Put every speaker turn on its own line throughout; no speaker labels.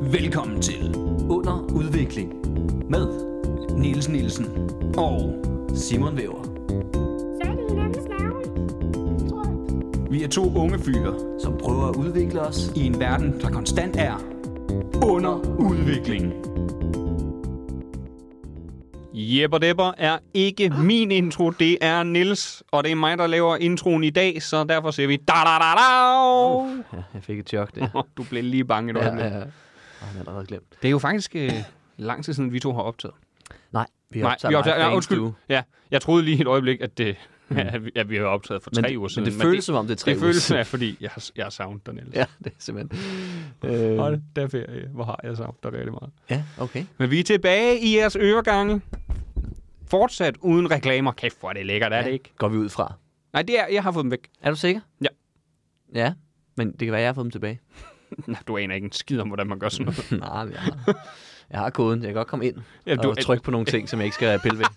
Velkommen til Under Udvikling med Niels Nielsen og Simon Væver.
Fat i hinandens navle. Tror jeg.
Vi er to unge fyre
som prøver at udvikle os.
i en verden, der konstant er under udvikling.
Jepper Depper er ikke min intro, det er Nils, og det er mig, der laver introen i dag, så derfor siger vi da da da da
Ja, jeg fik et chok der.
Du blev lige bange et
ja,
øjeblik.
ja. Og han er allerede glemt.
Det er jo faktisk øh, lang tid siden, vi to har optaget.
Nej, vi har
Nej, vi
optaget live
optager,
fra
ja,
en
undskyld. Mm.
stue.
Ja, jeg troede lige et øjeblik, at, det, at, vi, at vi har optaget for
Men,
tre uger siden.
men det føles som om, det er tre
det
uger
føles,
siden.
ja, fordi jeg, har- jeg har savnet dig, Niels.
Ja, det er simpelthen... Øh,
Hold da ferie, hvor har jeg savnet dig rigtig meget.
ja, okay.
Men vi er tilbage i jeres øregange. Fortsat uden reklamer. Kæft, hvor er det lækkert, er det ikke?
Går vi ud fra.
Nej, det er, jeg har fået dem væk.
Er du sikker?
Ja.
Ja, men det kan være, jeg har fået dem tilbage.
Nå, du aner ikke en skid om, hvordan man gør sådan noget.
Nej, men jeg har, jeg har koden. Jeg kan godt komme ind
Ja,
du,
du-
og trykke på nogle ting, som jeg ikke skal pille ved.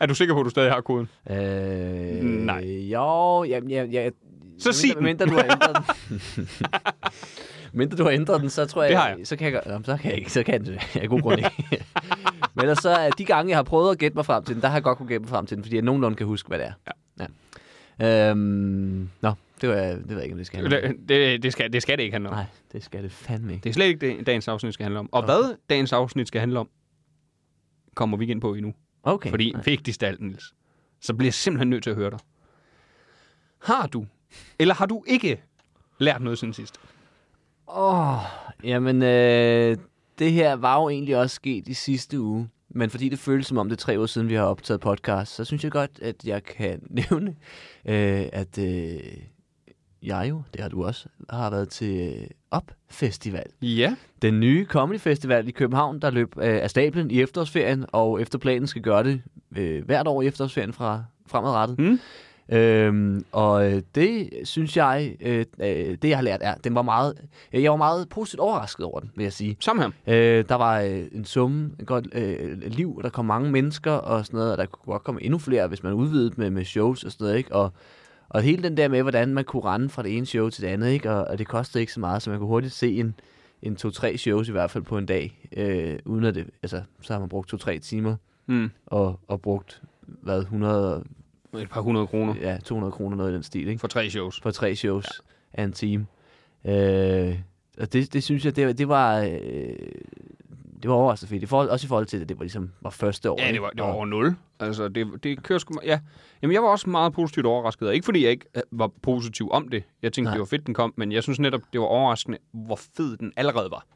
er du sikker på, at du stadig har koden?
Øh,
Nej.
Jo, jamen, jeg, jeg,
Så sig den.
mindre, mindre, du har ændret den. mindre du har ændret den, så tror jeg,
Det har jeg.
så kan jeg, godt- jamen, så kan jeg ikke, så kan jeg, jeg er god grund ikke. Men ellers så, øh, de gange, jeg har prøvet at gætte mig frem til den, der har jeg godt kunne gætte mig frem til den, fordi jeg nogenlunde kan huske, hvad det er. Ja. ja. Øhm, nå, det, var, det ved jeg ikke, om det skal handle om.
Det, det, det, skal, det skal det ikke handle om.
Nej, det skal det fandme ikke.
Det er slet ikke det, dagens afsnit skal handle om. Og hvad dagens afsnit skal handle om, kommer vi ikke ind på endnu.
Okay.
Fordi
nej.
vigtigst af alt, Niels, så bliver jeg simpelthen nødt til at høre dig. Har du, eller har du ikke lært noget siden sidst?
Åh, oh, jamen, øh, det her var jo egentlig også sket i sidste uge. Men fordi det føles som om det er tre år siden, vi har optaget podcast, så synes jeg godt, at jeg kan nævne, øh, at øh, jeg jo, det har du også, har været til øh, Op Festival.
Ja.
Den nye Comedy Festival i København, der løb øh, af stablen i efterårsferien, og efter planen skal gøre det øh, hvert år i efterårsferien fra fremadrettet.
Mm.
Øhm, og øh, det synes jeg, øh, øh, det jeg har lært er, den var meget, øh, jeg var meget positivt overrasket over den, vil jeg sige.
Sammen her.
Øh, der var øh, en summe, et godt øh, liv, og der kom mange mennesker og sådan noget, og der kunne godt komme endnu flere, hvis man udvidede med, med shows og sådan noget, ikke? Og, og hele den der med, hvordan man kunne rende fra det ene show til det andet, ikke? Og, og det kostede ikke så meget, så man kunne hurtigt se en, en to-tre shows i hvert fald på en dag, øh, uden at det, altså, så har man brugt to-tre timer
Mm.
og, og brugt, hvad, 100,
Et par hundrede kroner
ja, 200 kroner, noget i den stil, ikke?
for tre shows.
for tre shows ja. af en time. Øh, og det, det synes jeg, det, var- det var... Øh, det var overraskende fedt. I forhold, også i forhold til, at det var, ligesom, var første år.
Ja, det
ikke?
var, det var
Og-
over 0. Altså, det, det kører sgu... me- Ja. Jamen, jeg var også meget positivt overrasket. Og ikke fordi jeg ikke øh, var positiv om det. Jeg tænkte,
Nej.
Nej. det var fedt, den kom. Men jeg synes netop, det var overraskende, hvor fed den allerede var.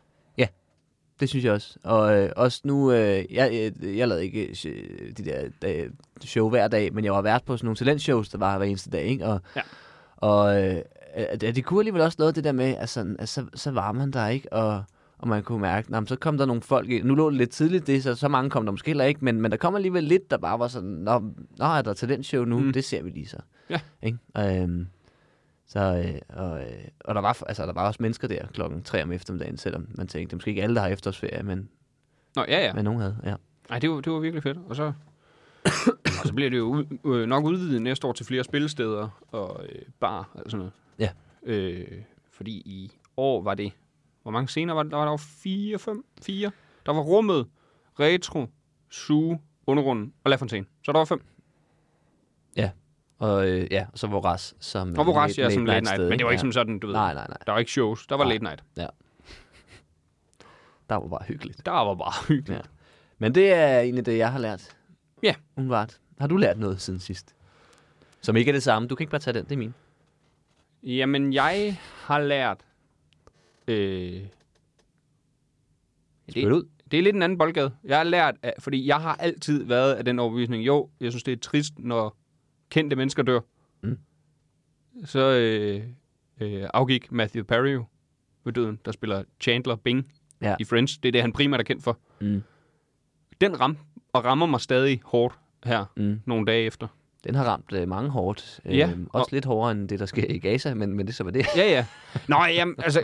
Det synes jeg også. Og øh, også nu, øh, jeg, øh, jeg lavede ikke øh, de der øh, show hver dag, men jeg var vært på sådan nogle talentshows, der var hver eneste dag, ikke? Og,
Ja.
og øh, at- at det kunne alligevel også noget det der med, at, sådan, at så, så var man der, ikke? Og, og man kunne mærke, at så kom der nogle folk ind. Nu lå det lidt tidligt, det, så så mange kom der måske heller ikke, men, men der kom alligevel lidt, der bare var sådan, nå, nå er der talentshow nu? Mm.
Mm.
Det ser vi lige så.
Ja.
Ikke? Og, øhm, så, øh, og, øh, og der, var, altså, der var også mennesker der klokken 3 om eftermiddagen, selvom man tænkte, det er måske ikke alle, der har efterårsferie, men,
Nå, ja, ja.
ja. men nogen havde. Ja.
Ej, det var, det var virkelig fedt. Og så, og så bliver det jo ud, øh, nok udvidet næste år til flere spillesteder og øh, bar og sådan noget.
Ja.
Øh, fordi i år var det... Hvor mange scener var det? Der var der jo fire, fem, fire. Der var rummet, retro, suge, undergrunden og La Fontaine. Så der var fem.
Og, øh, ja, og så Voras som
Og Voracia
late-
som late night,
sted,
men det var ikke
ja.
som sådan, du ved.
Nej, nej, nej.
Der var ikke shows, der var
Nej.
late night.
Der var bare hyggeligt.
Der var bare hyggeligt.
Ja. Men det er egentlig det, jeg har lært.
Ja.
Umiddelbart. Har du lært noget siden sidst? Som ikke er det samme. Du kan ikke bare tage den, det er min.
Jamen, jeg har lært... Øh,
Spyt
det,
ud.
det er lidt en anden boldgade. Jeg har lært, af, fordi jeg har altid været af den overbevisning, jo, jeg synes, det er trist, når kendte mennesker dør.
Mm.
Så øh, øh, afgik Matthew Perry jo ved døden, der spiller Chandler Bing
Ja.
i Friends. Det er det, han primært er kendt for.
Mm.
Den ramte og rammer mig stadig hårdt her
Mm.
nogle dage efter.
Den har ramt øh, mange hårdt.
Ja,
Øhm,
og-
også lidt hårdere end det, der sker i Gaza, men, men det er så var det.
Ja, ja. Nå, jamen, altså...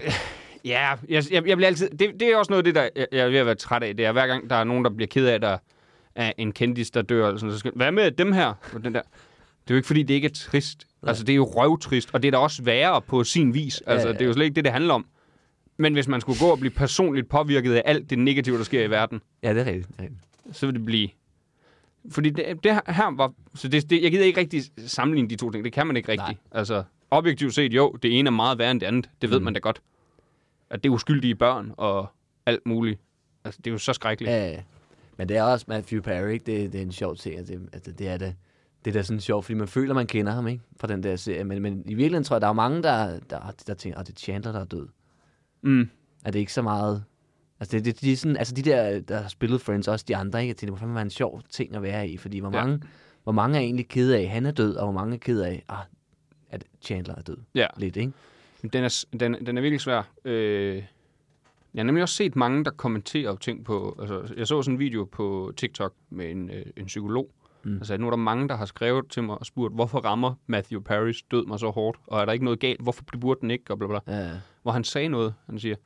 Ja, jeg, jeg, jeg bliver altid... Det, det er også noget af det, der, jeg, jeg er ved at være træt af. Det er, hver gang der er nogen, der bliver ked af, at der er en kendis, der dør, eller sådan, så skal, hvad med dem her? Og den der. Det er jo ikke, fordi det ikke er trist. Altså, det er jo røvtrist, og det er da også værre på sin vis. Altså,
Ja,
ja,
ja,
ja. det er jo slet ikke det, det handler om. Men hvis man skulle gå og blive personligt påvirket af alt det negative, der sker i verden,
Ja, det er rigtigt. Det er rigtigt.
så vil det blive... Fordi det, det her var... Så det, det, jeg gider ikke rigtig sammenligne de to ting. Det kan man ikke rigtig. Nej. Altså, objektivt set, jo, det ene er meget værre end det andet. Det ved mm. man da godt. At det er uskyldige børn og alt muligt. Altså, det er jo så skrækkeligt. Ja.
Ja, ja. Men det er også Matthew Perry, ikke? Det, det er en sjov ting. Altså, det- altså, det er det. Det er da sådan sjovt, fordi man føler, man kender ham, ikke? Fra den der serie. Men, men i virkeligheden tror jeg, der er mange, der, der, der tænker, at det er Chandler, der er død.
Mm.
Er det ikke så meget... Altså, det, det, de, er sådan, altså de der, der har spillet Friends, også de andre, ikke? Jeg tænker, det må fandme være en sjov ting at være i, fordi hvor
Ja.
mange, hvor mange er egentlig ked af, han er død, og hvor mange er ked af, ah, at Chandler er død.
ja.
Lidt, ikke?
Den er, s- den, den er virkelig svær. Øh, jeg har nemlig også set mange, der kommenterer ting på... Altså, jeg så sådan en video på TikTok med en, øh, en psykolog, mm. der sagde, nu er der mange, der har skrevet til mig og spurgt, hvorfor rammer Matthew Parris død mig så hårdt? Og er der ikke noget galt? Hvorfor burde den ikke? Og bla, bla, bla.
Uh,
Hvor han sagde noget. Han siger,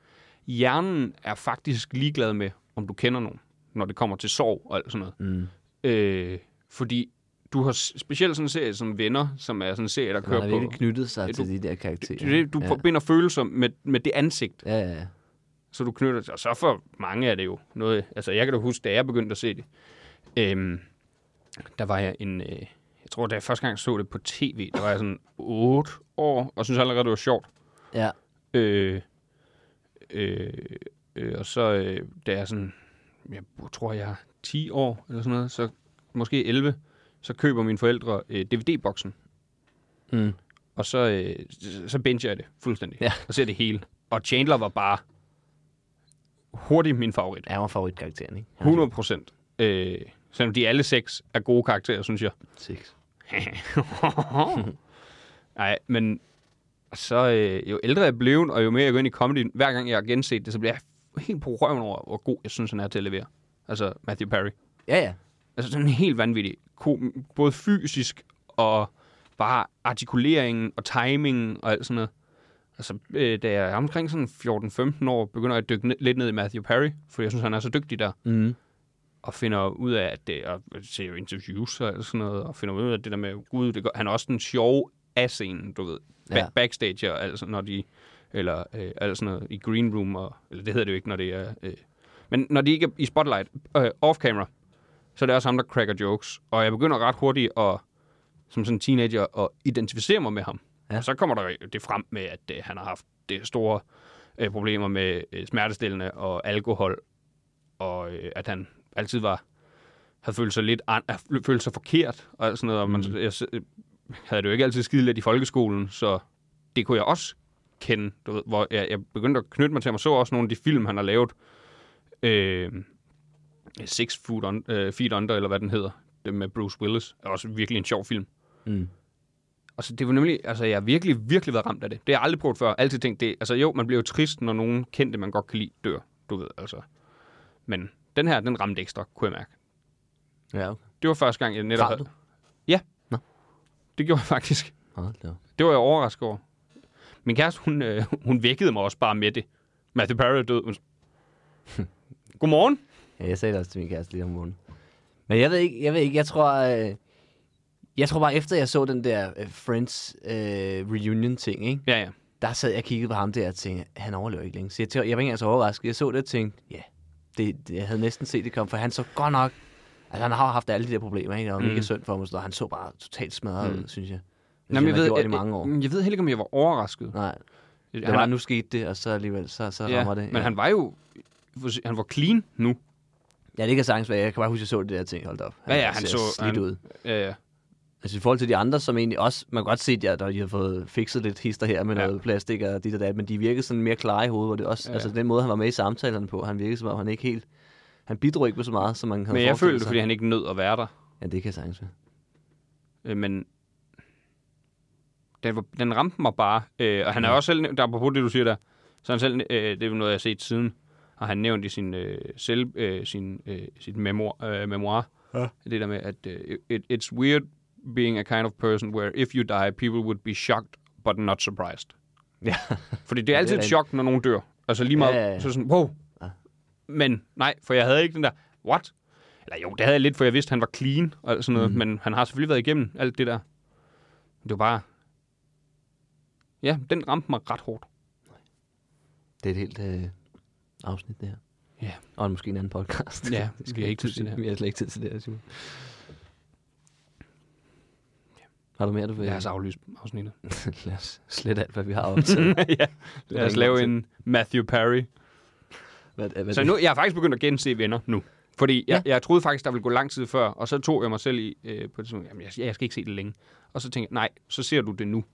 hjernen er faktisk ligeglad med, om du kender nogen, når det kommer til sorg og alt sådan noget.
mm.
Øh, fordi du har s- specielt sådan en serie som Venner, som er sådan en serie, der
Man har
kører på...
virkelig knyttet sig
Ja, du-
ja, til de der karakterer.
Det er det, Du
ja.
forbinder følelser med, med det ansigt,
Ja, ja, ja.
så du knytter Og så for mange er det jo noget... Altså, jeg kan da huske, da jeg begyndte at se det, øhm, der var jeg en... Øh, jeg tror, da jeg første gang så det på tv, der var jeg sådan 8 år, og synes allerede, det var sjovt.
ja.
Øh, øh, øh, og så, øh, da jeg sådan... Jeg tror, jeg er 10 år, eller sådan noget, så måske 11, så køber mine forældre øh, DVD-boksen.
Mm.
Og så, øh, så binger jeg det fuldstændig.
Ja.
Og ser det hele. Og Chandler var bare hurtigt min favorit.
Er var favoritkarakteren, ikke? Han er
100 procent. Øh, selvom de alle seks er gode karakterer, synes jeg.
Seks.
Nej, men så øh, jo ældre jeg blev, og jo mere jeg går ind i comedy, hver gang jeg har genset det, så bliver jeg helt på røven over, hvor god jeg synes, han er til at levere. Altså Matthew Perry.
Ja, ja.
Altså sådan helt vanvittig. Kom- Både fysisk og bare artikuleringen og timingen og alt sådan noget. Altså, øh, da jeg er omkring sådan 14-15 år, begynder jeg at dykke ned, lidt ned i Matthew Perry, for jeg synes, han er så dygtig der,
Mm.
og finder ud af, at det, og ser jo interviews og alt sådan noget, og finder ud af det der med, gud, det gør, han er også den sjove af scenen, du ved, ba-
Ja.
backstage og alt sådan, når de, eller øh, alt sådan noget, i green room, og, eller det hedder det jo ikke, når det er, øh, men når de ikke er i spotlight, øh, off camera, så er det også ham, der cracker jokes. Og jeg begynder ret hurtigt at, som sådan en teenager at identificere mig med ham. Ja.
Ja.
Og så kommer der jo det frem med, at øh, han har haft det store øh, problemer med øh, smertestillende og alkohol, og øh, at han altid var havde følt sig lidt an, øh, følt sig forkert og alt sådan noget. Og man, mm. jeg, s- øh, havde det jo ikke altid skide lidt i folkeskolen, så det kunne jeg også kende. Du ved, hvor jeg, jeg begyndte at knytte mig til ham, og så også nogle af de film, han har lavet. Øh, Six Foot un, øh, Feet Under, eller hvad den hedder, det med Bruce Willis, er også virkelig en sjov film.
Mm.
Og så det var nemlig, altså jeg har virkelig, virkelig været ramt af det. Det har jeg aldrig prøvet før. Altid tænkt det, altså jo, man bliver jo trist, når nogen kendte, man godt kan lide, dør. Du ved, altså. Men den her, den ramte ekstra, kunne jeg mærke.
Ja, okay.
Det var første gang, jeg netop...
Græd du?
Ja.
Nå.
Det gjorde jeg faktisk.
Hold da op.
Det var jeg overrasket over. Min kæreste, hun, øh, hun vækkede mig også bare med det. Matthew Perry er død. Hun... s- Godmorgen.
Ja, jeg sagde det også til min kæreste lige om morgenen. Men jeg ved ikke, jeg ved ikke, jeg tror... Øh, jeg tror bare, efter jeg så den der øh, Friends øh, reunion-ting, ikke?
Ja, ja.
der sad jeg og kiggede på ham der og tænkte, han overlever ikke længe. Så jeg, tæ- jeg var ikke engang så overrasket. Jeg så det og tænkte, ja, det, det, jeg havde næsten set det komme, for han så godt nok... Altså, han har jo haft alle de der problemer, ikke? Og mega
Mm.
synd for ham, og sådan noget. han så bare totalt smadret ud, synes jeg. Ligesom Det
Nå, men
synes Mm. jeg, ved, Mm. gjort i mange år.
jeg, jeg ved heller ikke, om jeg var overrasket.
Nej, det
Han
var,
er-
nu skete det, og så alligevel, så, så
ja,
rammer det.
Men
ja.
han var jo... Han var clean nu. Øh,
ja, det kan sagtens være. Jeg kan bare huske, at jeg så det der ting, hold da op.
Ja, ja, han
ser
så-
slidt
han-
ud.
Ja, ja.
Altså i forhold til de andre, som egentlig også, man kan godt se, at de, der, de har fået fikset lidt hister her med
Ja.
ja. noget plastik og dit og dat, men de virkede sådan mere klare i hovedet, og det også,
Ja,
ja,
ja.
altså den måde, han var med i samtalerne på, han virkede som om, han ikke helt, han bidrog ikke på så meget, som man havde
Men jeg
forestillet
følte det,
sig.
fordi han ikke nød at være der.
Ja, det kan jeg sagtens være.
Øh, men den, var, den ramte mig bare. Øh, og han er også selv, nævnt- der på det, du siger der, så er han selv, øh, det er jo noget, jeg har set siden, og han nævnt i sin, øh, selv, øh, sin, øh, sit memoir, øh, memoir ja. det der med, at øh, it, it's weird being a kind of person where if you die, people would be shocked, but not surprised.
Ja.
Fordi det er altid et
rigtigt.
chok, når nogen dør. Altså lige meget,
Ja, ja, ja.
så sådan, wow. Men nej, for jeg havde ikke den der, what? Eller jo, det havde jeg lidt, for jeg vidste, han var clean og alt sådan
Mhm.
noget. Mm. Men han har selvfølgelig været igennem alt det der. Det var bare... Ja, den ramte mig ret hårdt.
Det er et helt øh, afsnit, det her.
Ja.
Og måske en anden podcast.
Ja,
Det
vi har ikke tid til det her.
Vi har slet ikke tid til det her, Simon. Har du mere, du vil?
Lad os aflyse afsnittet.
Lad os slette alt, hvad vi har optaget.
ja. Lad os lave en Matthew Perry.
Hvad, hvad
Så nu, jeg har faktisk begyndt at gense venner nu. Fordi jeg, ja. jeg troede faktisk, der ville gå lang tid før, og så tog jeg mig selv i, øh, på et tidspunkt, jamen jeg, jeg skal ikke se det længe. Og så tænkte jeg, nej, så ser du det nu.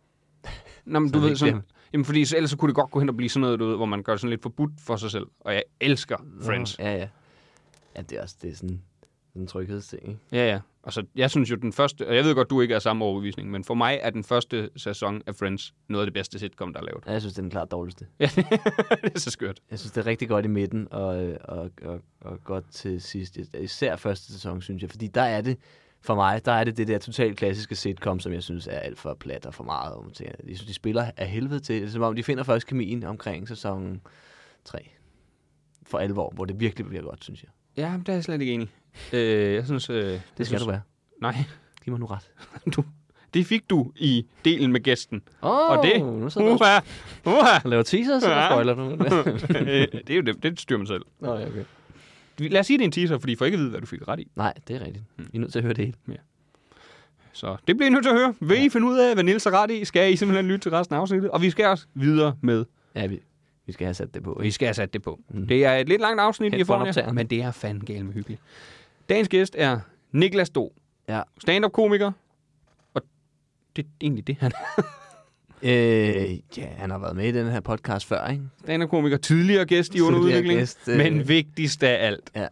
Nå, men
Så
du
det
ved
ikke
sådan,
dem.
jamen fordi så, ellers så kunne det godt gå hen og blive sådan noget, du ved, hvor man gør det sådan lidt forbudt for sig selv. Og jeg elsker Friends.
Ja, ja. Ja, det er også det er sådan, sådan en tryghedsting, ikke?
Ja, ja. Og så, jeg synes jo, den første, og jeg ved godt, du ikke er af samme overbevisning, men for mig er den første sæson af Friends noget af det bedste sitcom, der er lavet.
Ja, jeg synes, det er den klart dårligste.
det er så skørt.
Jeg synes, det er rigtig godt i midten, og, øh, og, og, og godt til sidst. Især første sæson, synes jeg. Fordi der er det, for mig, der er det det der totalt klassiske sitcom, som jeg synes er alt for plat og for meget om til. Jeg synes, de spiller af helvede til. Det er som om, de finder først kemien omkring sæson 3. For alvor, hvor det virkelig bliver godt, synes jeg.
Ja, men det er jeg slet ikke enig. i. Øh, jeg synes... Øh, det
Det skal
synes,
du være.
Nej,
Giv mig nu ret.
du, det fik du i delen med gæsten.
Oh,
Og det,
Nu sidder du
uha, uha,
og laver teasers, eller
Ja.
spoiler nu.
Øh, det er jo det, det styrer mig selv.
Nå, ja, okay.
Lad os sige, det er en teaser, fordi I får ikke at vide, hvad du fik ret i.
Nej, det er rigtigt.
Hmm.
I er nødt til at høre det hele.
Så det bliver I nødt til at høre. Vil I finde ud af, hvad Nils er ret i, skal I simpelthen lytte til resten af afsnittet. Og vi skal også videre med,
Ja, vi, vi skal have sat det på.
og I skal have sat det på.
Mm.
Det er et lidt langt afsnit,
Hent
I får jer,
båndoptageren.
men det er fandme galt med hyggeligt. Dagens gæst er Niklas Do.
Ja.
Stand-up-komiker. Og det er egentlig det, han
Øh, ja, han har været med i den her podcast før, ikke?
stand-up-komiker, tidligere gæst i
Tidligere
underudvikling,
gæst,
gæst,
øh.
øh... men vigtigst af alt,
Ja.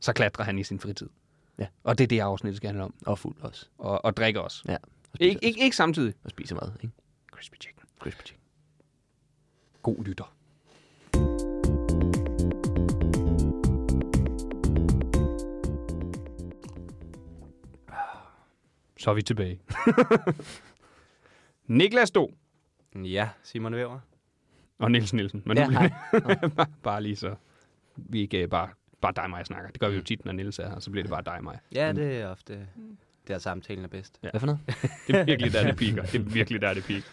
så klatrer han i sin fritid.
Ja.
Og det er det, afsnittet skal handle om.
Og fuld også.
Og, og drikker også.
Ja. Og spiser,
Ikke, ikke, ikke samtidig.
og spiser mad, ikke?
Crispy chicken.
Crispy chicken.
God lytter. Så er vi tilbage. Niklas Do
Ja, Simon Væver.
og Niels Nielsen. Men
Ja,
nu bliver
hej.
bare lige så. Vi er ikke øh, bare, bare dig og mig, snakker. Det gør vi jo tit, når Niels er her. Så bliver det bare dig og mig.
Ja, det er ofte der samtalen er bedst.
Hvad for noget?
Det er virkelig der, det piker. Det er virkelig der, det piker.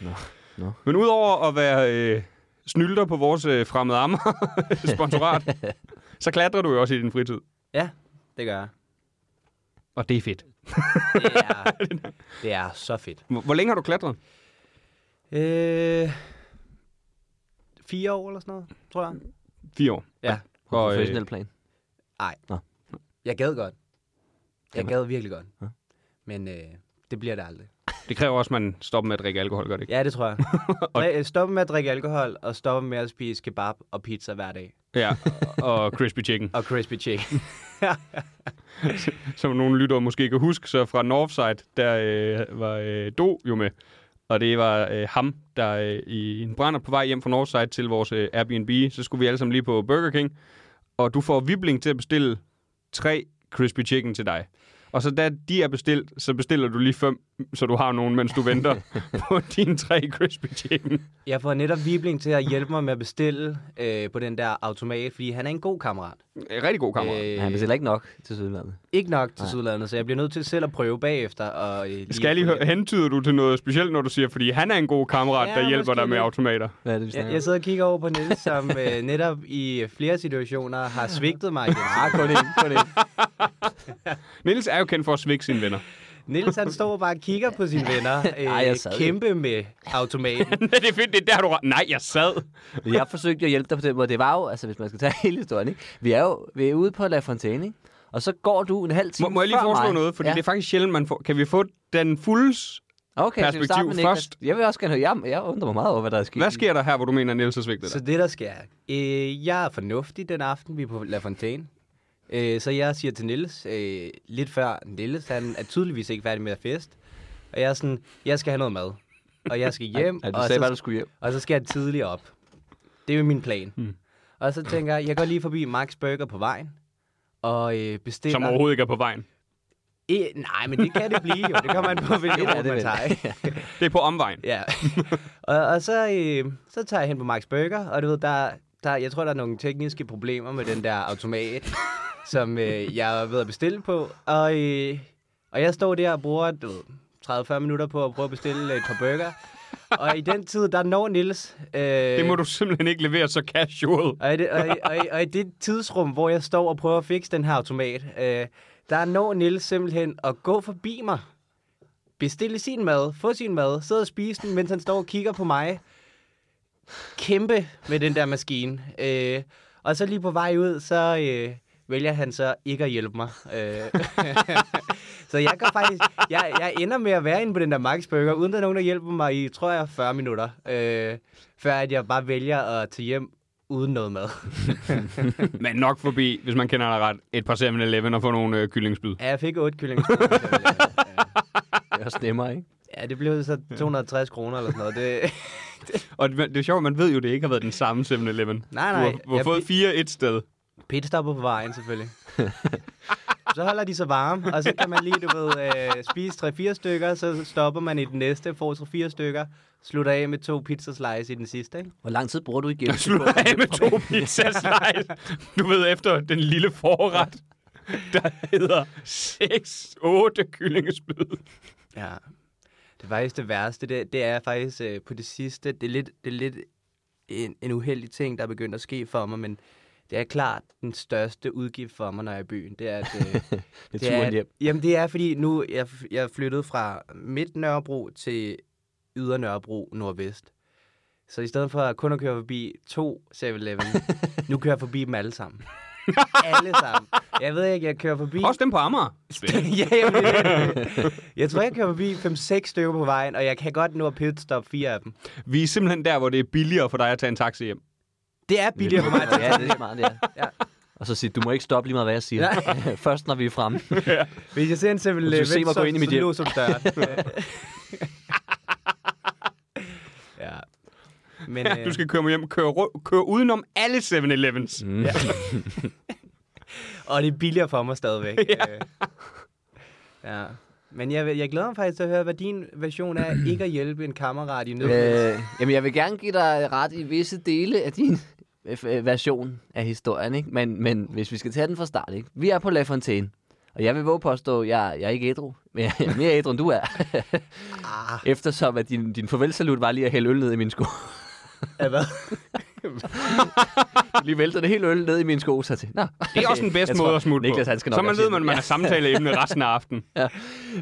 Nå, nå.
Men udover at være øh, snylder på vores øh, fremmede ammer sponsorat, så klatrer du jo også i din fritid.
Ja, det gør jeg.
Og det er fedt.
Det er, det er så fedt.
Hvor, hvor længe har du klatret?
Øh, fire år eller sådan noget, tror jeg.
Fire år.
Ja.
På
Og,
professionel
øh,
plan.
Jeg gad godt. Jeg
Jamen.
gad virkelig godt.
Ja.
Men øh, det bliver det aldrig.
det kræver også, at man stopper med at drikke alkohol, gør det ikke?
Ja, det tror jeg. Dri- Stoppe med at drikke alkohol, og stoppe med at spise kebab og pizza hver dag.
Ja, og crispy chicken.
Og crispy chicken.
Som nogle lyttere måske kan huske, så fra Northside, der øh, var øh, Do jo med. Og det var øh, ham, der øh, i en brænder på vej hjem fra Northside til vores øh, Airbnb. Så skulle vi alle sammen lige på Burger King. Og du får Vibling til at bestille tre crispy chicken til dig. Og så da de er bestilt, så bestiller du lige fem, så du har nogen, mens du venter på dine tre crispy chicken.
Jeg får netop Vibling til at hjælpe mig med at bestille øh, på den der automat, fordi han er en god kammerat. Øh,
Rigtig god kammerat.
Men han bestiller ikke nok til sydlandet.
ikke nok til sydlandet, så jeg bliver nødt til selv at prøve bagefter. Og, øh, lige
Skal jeg lige
få
høre,
lidt-
hentyder du til noget specielt, når du siger, fordi han er en god kammerat,
Ja,
der hjælper
måske
dig med
lidt.
automater?
Hvad er det, vi
Jeg,
snakker
jeg
om?
sidder og kigger over på Niels, som øh, netop i flere situationer har svigtet mig.
Ah, kun en, kun en.
Niels er jo kendt for at svække sine venner.
Niels han står bare og kigger på sine venner. Øh,
Ej, jeg sad jo.
kæmpe med automaten.
det er fedt, det er der, du... ra- Nej, jeg sad.
Jeg forsøgte jo at hjælpe dig på den måde. Det var jo, altså hvis man skal tage hele historien, ikke? Vi er jo vi er ude på La Fontaine, ikke? Og så går du en halv time
Må, må jeg lige
før
foreslå
mig.
noget? Fordi ja. det er faktisk sjældent, man får... Kan vi få den fulds...
okay, så vi
perspektiv
starter med Niklas.
først.
Jeg vil også gerne høre, jeg, jeg undrer mig meget over, hvad der er sket.
Hvad sker der her, hvor du mener, at Niels har svigtet
så
dig?
det, der sker. Øh, jeg er fornuftig den aften, vi er på La Fontaine. Øh, så jeg siger til Niels, øh, lidt før Niels, han er tydeligvis ikke færdig med at fest. Og jeg er sådan, jeg skal have noget mad. Og jeg skal hjem.
Ja, du
og
sagde
så
bare, du skulle hjem.
Og så skal jeg tidligt op. Det er jo min plan. Hmm. Og så tænker jeg, jeg går lige forbi Max Burger på vejen. Og øh, bestiller...
Som overhovedet ikke er på vejen.
E, nej, men det kan det blive jo. Det kommer an på, hvilken
Ja,
ja,
det
man
vil.
tager. ikke?
Det er på omvejen.
ja. og, og så, øh, så tager jeg hen på Max Burger, og du ved, der, der, jeg tror, der er nogle tekniske problemer med den der automat, som øh, jeg er ved at bestille på. Og, øh, og jeg står der og bruger du ved, 30-40 minutter på at prøve at bestille et par burger. Og i den tid, der når Nils... Øh,
Det må du simpelthen ikke levere så casual.
Og i, det, og, i, og, i, og i det tidsrum, hvor jeg står og prøver at fikse den her automat, øh, der når Nils simpelthen at gå forbi mig, bestille sin mad, få sin mad, sidde og spise den, mens han står og kigger på mig. Kæmpe med den der maskine. Øh, og så lige på vej ud, så øh, vælger han så ikke at hjælpe mig. Øh, så jeg går faktisk, jeg, jeg ender med at være inde på den der Max Burger, uden der er nogen, der hjælper mig i, tror jeg, 40 minutter. Øh, før at jeg bare vælger at tage hjem uden noget mad.
Men nok forbi, hvis man kender dig ret, et par 7-Eleven og få nogle øh, kyllingsbyd.
Ja, jeg fik otte kyllinger.
Det er også nemmere, ikke?
ja, det blev så 260 kroner eller sådan noget. Det,
Og det, det er sjovt, man ved jo, det ikke har været den samme 7-Eleven. Du
nej, nej.
har, du har
jeg
fået
pi-
fire et sted.
pitstopper på vejen, selvfølgelig. så holder de sig varme, og så kan man lige, du ved, øh, spise 3-4 stykker, så stopper man i den næste, får 3-4 stykker, slutter af med to pizza slice i den sidste, ikke?
Hvor lang tid bruger du igen?
slutter af med to pizzaslice. Du ved, efter den lille forret, der hedder 6-8 kyllingespyd.
Ja. Det er faktisk det værste, det, det er faktisk øh, på det sidste, det er lidt, det er lidt en, en uheldig ting, der er begyndt at ske for mig, men det er klart den største udgift for mig, når jeg er i byen. Det er, at, øh,
Det er turen
at-
hjem.
Jamen det er, fordi nu jeg, jeg flyttede fra midt Nørrebro til yder Nørrebro nordvest. Så i stedet for kun at køre forbi to 7-Eleven, nu kører jeg forbi dem alle sammen. alle sammen. Jeg ved ikke, jeg kører forbi...
Også dem på Amager.
ja, jamen, det er det. jeg tror, jeg kører forbi 5-6 stykker på vejen, og jeg kan godt nå at pitstop fire af dem.
Vi er simpelthen der, hvor det er billigere for dig at tage en taxi hjem.
Det er billigere for mig. at tage
Ja, det er smart, ja.
Ja.
Og så sige, du må ikke stoppe lige meget, hvad jeg siger. Først, når vi er fremme.
Hvis jeg ser en 7-Eleven,
Hvis du ser
så,
mig gå ind i mit
så
hjem.
låser du døren. ja. Men,
Ja, du skal køre mig hjem, køre, ru- køre udenom alle 7-Elevens. Mm.
Og det er billigere for mig stadigvæk. ja. ja. Men jeg, vil- jeg glæder mig faktisk til at høre, hvad din version er ikke at hjælpe en kammerat i nød.
Øh, jamen, jeg vil gerne give dig ret i visse dele af din øh, øh, version af historien, ikke? Men, men hvis vi skal tage den fra start, ikke? Vi er på La Fontaine, og jeg vil våge påstå, at jeg, jeg er ikke ædru, men jeg er mere ædru, end du er.
Ah,
Eftersom at din, din farvelsalut var lige at hælde øl ned i mine sko.
Ja, hvad?
lige væltede det hele øl ned i mine sko, så til. Nå.
Det er også den bedste
Jeg
måde
tror,
at smutte
Niklas,
på.
han skal nok
Så man
også
ved,
hjem.
man, man
Ja.
har samtaleemne resten af aftenen.
Ja.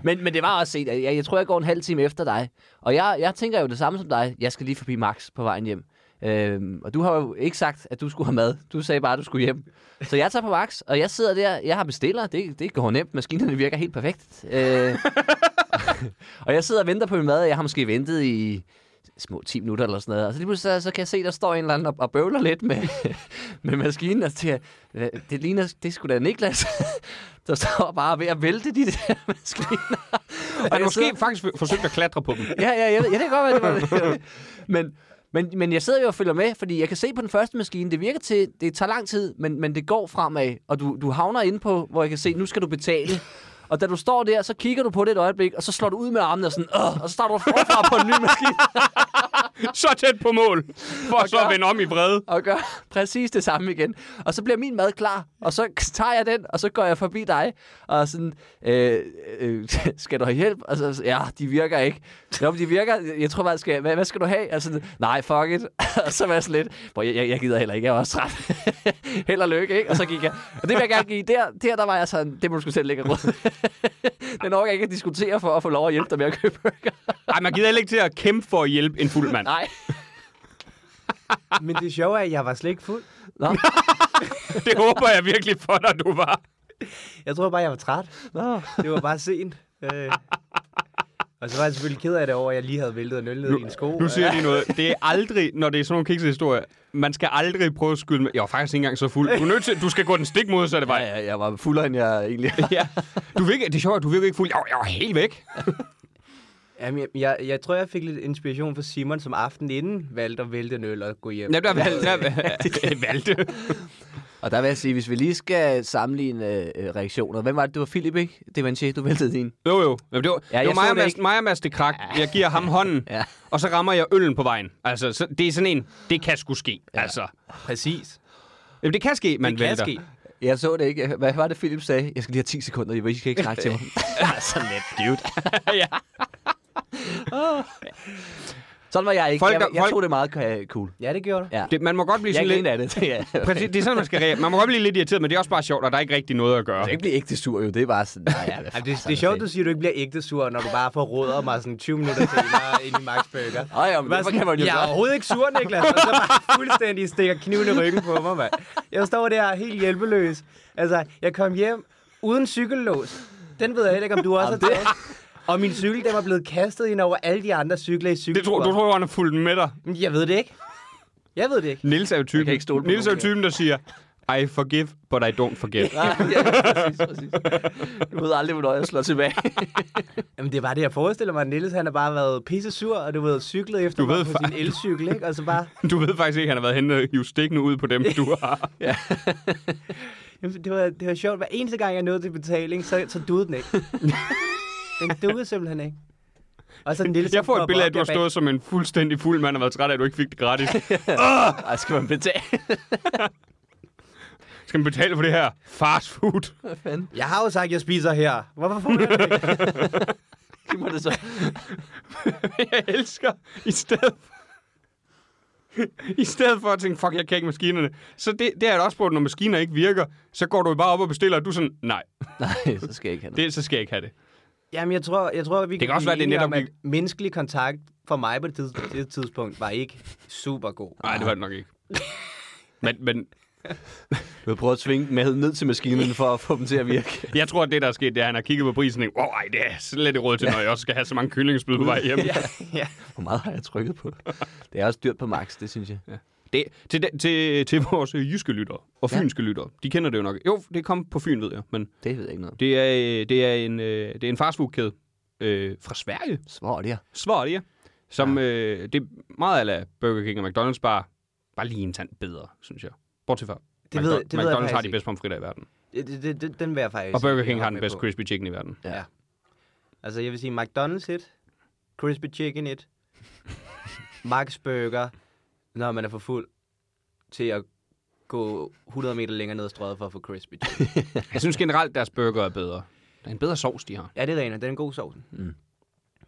Men, men det var også set, at jeg, jeg tror, jeg går en halv time efter dig. Og jeg, jeg tænker jo det samme som dig. Jeg skal lige forbi Max på vejen hjem. Øhm, og du har jo ikke sagt, at du skulle have mad. Du sagde bare, at du skulle hjem. Så jeg tager på Max, og jeg sidder der. Jeg har bestiller. Det, det går nemt. Maskinerne virker helt perfekt. Øh, og jeg sidder og venter på min mad, og jeg har måske ventet i små 10 minutter eller sådan noget. Og så lige pludselig så, så kan jeg se, der står en eller anden og, og bøvler lidt med, med maskinen. Og så tænker jeg, "Hva- det ligner, det er sgu da Niklas, der står bare ved at vælte de der maskiner. Og
Han
jeg
har måske
sidder-
faktisk forsøgt at klatre på dem.
Ja, ja, jeg ved, ja, det kan godt være, det var det. men, men, men jeg sidder jo og følger med, fordi jeg kan se på den første maskine, det virker til, det tager lang tid, men, men det går fremad, og du, du havner inde på, hvor jeg kan se, nu skal du betale. Og da du står der, så kigger du på det et øjeblik, og så slår du ud med armene og sådan, Åh! og så starter du forfra på en ny maskine.
Så tæt på mål, for så at
gør-
vende om i vrede.
og gør præcis det samme igen. Og så bliver min mad klar, og så tager jeg den, og så går jeg forbi dig, og sådan, øh, øh, skal du have hjælp? Og så, ja, de virker ikke. Nå, men de virker, jeg tror bare, skal, hvad, hvad skal du have? Og sådan, nej, fuck it. og så var jeg sådan lidt, "Bro, jeg, jeg, jeg gider heller ikke, jeg er også træt. Held og lykke, ikke? Og så gik jeg. Og det vil jeg gerne give. Der, der, der var jeg sådan, det må du sgu selv lægge råd. Den orker jeg ikke at diskutere for at få lov at hjælpe dig med at købe burger.
Ej, man gider heller ikke til at kæmpe for at hjælpe en fuld mand.
Nej.
Men det sjove er, at jeg var slet ikke fuld.
Nå.
Det håber jeg virkelig for dig, du var.
Jeg tror bare, jeg var træt.
Nå.
Det var bare sent. Øh. Og så var jeg selvfølgelig ked af det over, at jeg lige havde væltet en øl ned i en sko.
Nu siger jeg lige noget. Det er aldrig, når det er sådan nogle kikshistorier, man skal aldrig prøve at skyde med. Jeg var faktisk ikke engang så fuld. Du er nødt til, du skal gå den stik modsatte vej.
Ja, ja, jeg var fuldere, end jeg egentlig
Ja. Du virker, det er sjovt, at du virker ikke fuld. Jeg var, jeg var helt væk.
Jamen, jeg, jeg, jeg tror, jeg fik lidt inspiration fra Simon, som aftenen inden valgte at vælte en øl og gå hjem.
Jamen, der valgte. Der valgte.
Og der vil jeg sige, hvis vi lige skal sammenligne øh, øh, reaktioner. Hvem var det? Det var Philip, ikke? Det var en chef, du væltede din.
Jo, jo. Jamen, det var, ja,
jeg
det var mig,
så
og
det
Mads,
ikke.
mig og Mads det krak. Jeg giver ham hånden, ja.
Ja.
og så rammer jeg øllen på vejen. Altså, så, det er sådan en, det kan sgu ske. Ja. Altså,
Præcis.
Jamen, det kan ske, man
Det kan
vælter.
ske.
Jeg så det ikke. Hvad var det, Philip sagde? Jeg skal lige have 10 sekunder, I skal ikke snakke til mig. så let, dude.
ja.
Sådan var jeg ikke.
Folk,
Folk, jeg,
der-
jeg
folk-
tog det meget ka- cool.
Ja, det gjorde du.
Ja.
Det, man må godt blive
Jeg
sådan lidt...
griner af det. Ja.
Præcis, det er sådan, man skal reagere. Man må godt blive lidt irriteret, men det er også bare sjovt, og der er ikke rigtig noget at
Du
gøre.
skal ikke blive ægte sur, jo. Det er bare sådan, nej, ja,
Ej, det, det er sjovt, du siger, at du ikke bliver ægte sur, når du bare forråder mig sådan 20 minutter senere ind i Max Burger.
Ej, ja, men
Bare
derfor
sådan,
kan man jo
jeg er
godt.
overhovedet ikke sur, Niklas. Og så bare fuldstændig stikker kniven i ryggen på mig, mand. Jeg står der helt hjælpeløs. Altså, jeg kom hjem uden cykellås. Den ved jeg heller ikke, om du også har
Jamen, det-
taget. Og min cykel, den var blevet kastet ind over alle de andre cykler i
Det tror,
cykelturen.
du tror, han er fuldt med dig.
Men Jeg ved det ikke. Jeg ved det ikke.
Nils er jo typen,
kan ikke stole på
Niels er jo
nogen, ja.
typen der siger, I forgive, but I don't forgive.
Nej, ja, præcis, præcis. Du ved aldrig, hvornår jeg slår tilbage.
Jamen, det er bare det, jeg forestiller mig. at Niels, han har bare været pisse sur, og du ved, cyklet efter
Du ved
mig på
fa-
sin elcykel, ikke? Og så bare...
Du ved faktisk ikke, at han har været henne og hivet stikkene ud på dem, du har.
Jamen, det var, det var sjovt. Hver eneste gang, jeg nåede til betaling, så, så duede den ikke. den duede simpelthen ikke. Og så Nielsen
Jeg får et
popper
billede af,
op
at du har
der bag-
stået som en fuldstændig fuld mand og været træt af, at du ikke fik det gratis.
Ej, skal man betale?
Skal man betale for det her fast food?
Hvad fanden?
Jeg har jo sagt, at jeg spiser her. Hvorfor får jeg det ikke?
Det må det så.
jeg elsker, i stedet i stedet for at tænke, fuck, jeg kan ikke maskinerne. Så det, det er et også på, at når maskiner ikke virker, så går du jo bare op og bestiller, og du er sådan, nej,
Nej, så skal jeg ikke have det.
det, så skal jeg ikke have det.
Jamen, jeg tror, jeg tror vi
kan også
blive
være, det er
enige
netop
om, at
ikke-
menneskelig kontakt for mig på det, tids, det tidspunkt var ikke super god.
Nej, det var det nok ikke. Men, men
Du har prøvet at tvinge med ned til maskinerne for at få dem til at virke.
jeg tror, at det, der er sket, det er, at han har kigget på prisen og tænkt, åh, ej, det er slet ikke råd til, når jeg også skal have så mange kyllingespyd på vej hjem.
ja.
Hvor meget har jeg trykket på? Det er også dyrt på max, det synes jeg.
Det, til, de- til, til vores jyske lyttere og
Ja.
fynske lyttere, de kender det jo nok. Jo, det kom på Fyn, ved jeg, men
Det ved jeg ikke noget om.
det er, øh, det er en, øh, det er en fastfoodkæde øh, fra Sverige,
Svart, ja.
Sverige, som ja. øh, det er meget ala Burger King og McDonald's, bare, bare lige en tand bedre, synes jeg. Bortset fra,
Det ved-
McDo-
det ved jeg
McDonald's har
faktisk
de bedste pomfritter i verden,
Det, det, det, det, den vil jeg faktisk...
og Burger King
ikke
har den
med
bedste
på.
crispy chicken i verden.
Ja. Altså, jeg vil sige McDonald's et, Crispy Chicken et, Max Burger, når man er for fuld til at gå 100 meter længere ned ad strøget for at få Crispy Chicken.
Jeg synes generelt, deres burger er bedre. Der er en bedre sovs, de har.
ja, det er rent. Det er en god sovs.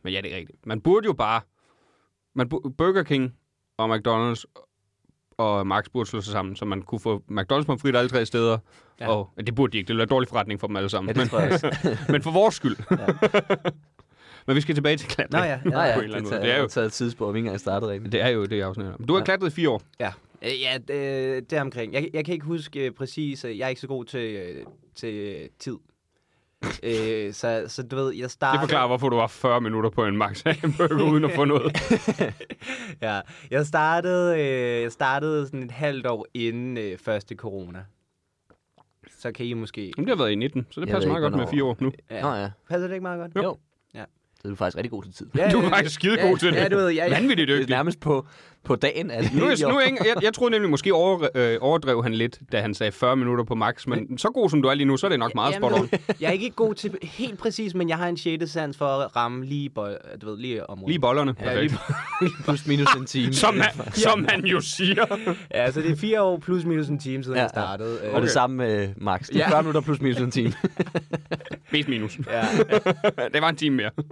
Men ja, det er rigtigt. Man burde jo bare... Man bu- Burger King og McDonald's og Max burde slå sig sammen, så man kunne få McDonald's pomfrit alle tre steder. Ja.
Ja.
Og ja, det burde de ikke. Det ville være dårlig forretning for dem alle sammen.
Ja, det tror jeg også.
men, men for vores skyld. Ja. men vi skal tilbage til
Nå
klatring.
ja.
Nå
ja,
ja,
ja.
På en eller anden
det
måde. Det er
tager,
jo-
det tager et tidsspår, vi ikke engang startede rigtigt.
Det er jo det, jeg afsnit om. Du har
Ja.
klatret i fire år.
Ja, Øh, ja det, det er omkring. Jeg, jeg kan ikke huske øh, præcis. øh, Jeg er ikke så god til, øh, til øh, tid. øh, så, så du ved, jeg
Det
Ah,
startede...
forklarer, hvorfor du var 40 minutter på en Max Hamburger uden at få noget.
Ja, jeg startede, øh, jeg startede sådan et halvt år inden øh, første corona. Så kan I måske...
Men det har været i 19, så det
Jeg
passer meget
ved
godt med
ikke, hvornår-
fire år nu.
Ja.
Nå ja.
Passer det ikke meget godt?
Jo.
Ja.
Så er du faktisk rigtig god til tid.
Ja,
Du er
ja,
faktisk skidegod
ja,
til det.
Ja, du ved, ja, ja.
Vanvittigt
Det er
dygtig.
nærmest på, på dagen. At
Nu, er, nu er jeg, jeg, jeg troede nemlig, måske over, øh, overdrev han lidt, da han sagde 40 minutter på max, men så god som du er lige nu, så er det nok meget spot
Jamen,
on.
du ved, Jeg er ikke god til helt præcis, men jeg har en sjette sans for at ramme lige, bold, du ved, lige området.
Lige bollerne.
ja, lige,
plus minus en time.
Som, man, som man jo siger.
ja, så det er fire år plus minus en time, siden
Ja,
jeg startede.
Og
Øh,
det samme med Max. Det er
Ja.
40 minutter plus minus en time.
Mest minus.
Ja,
det var en time mere.
Øh,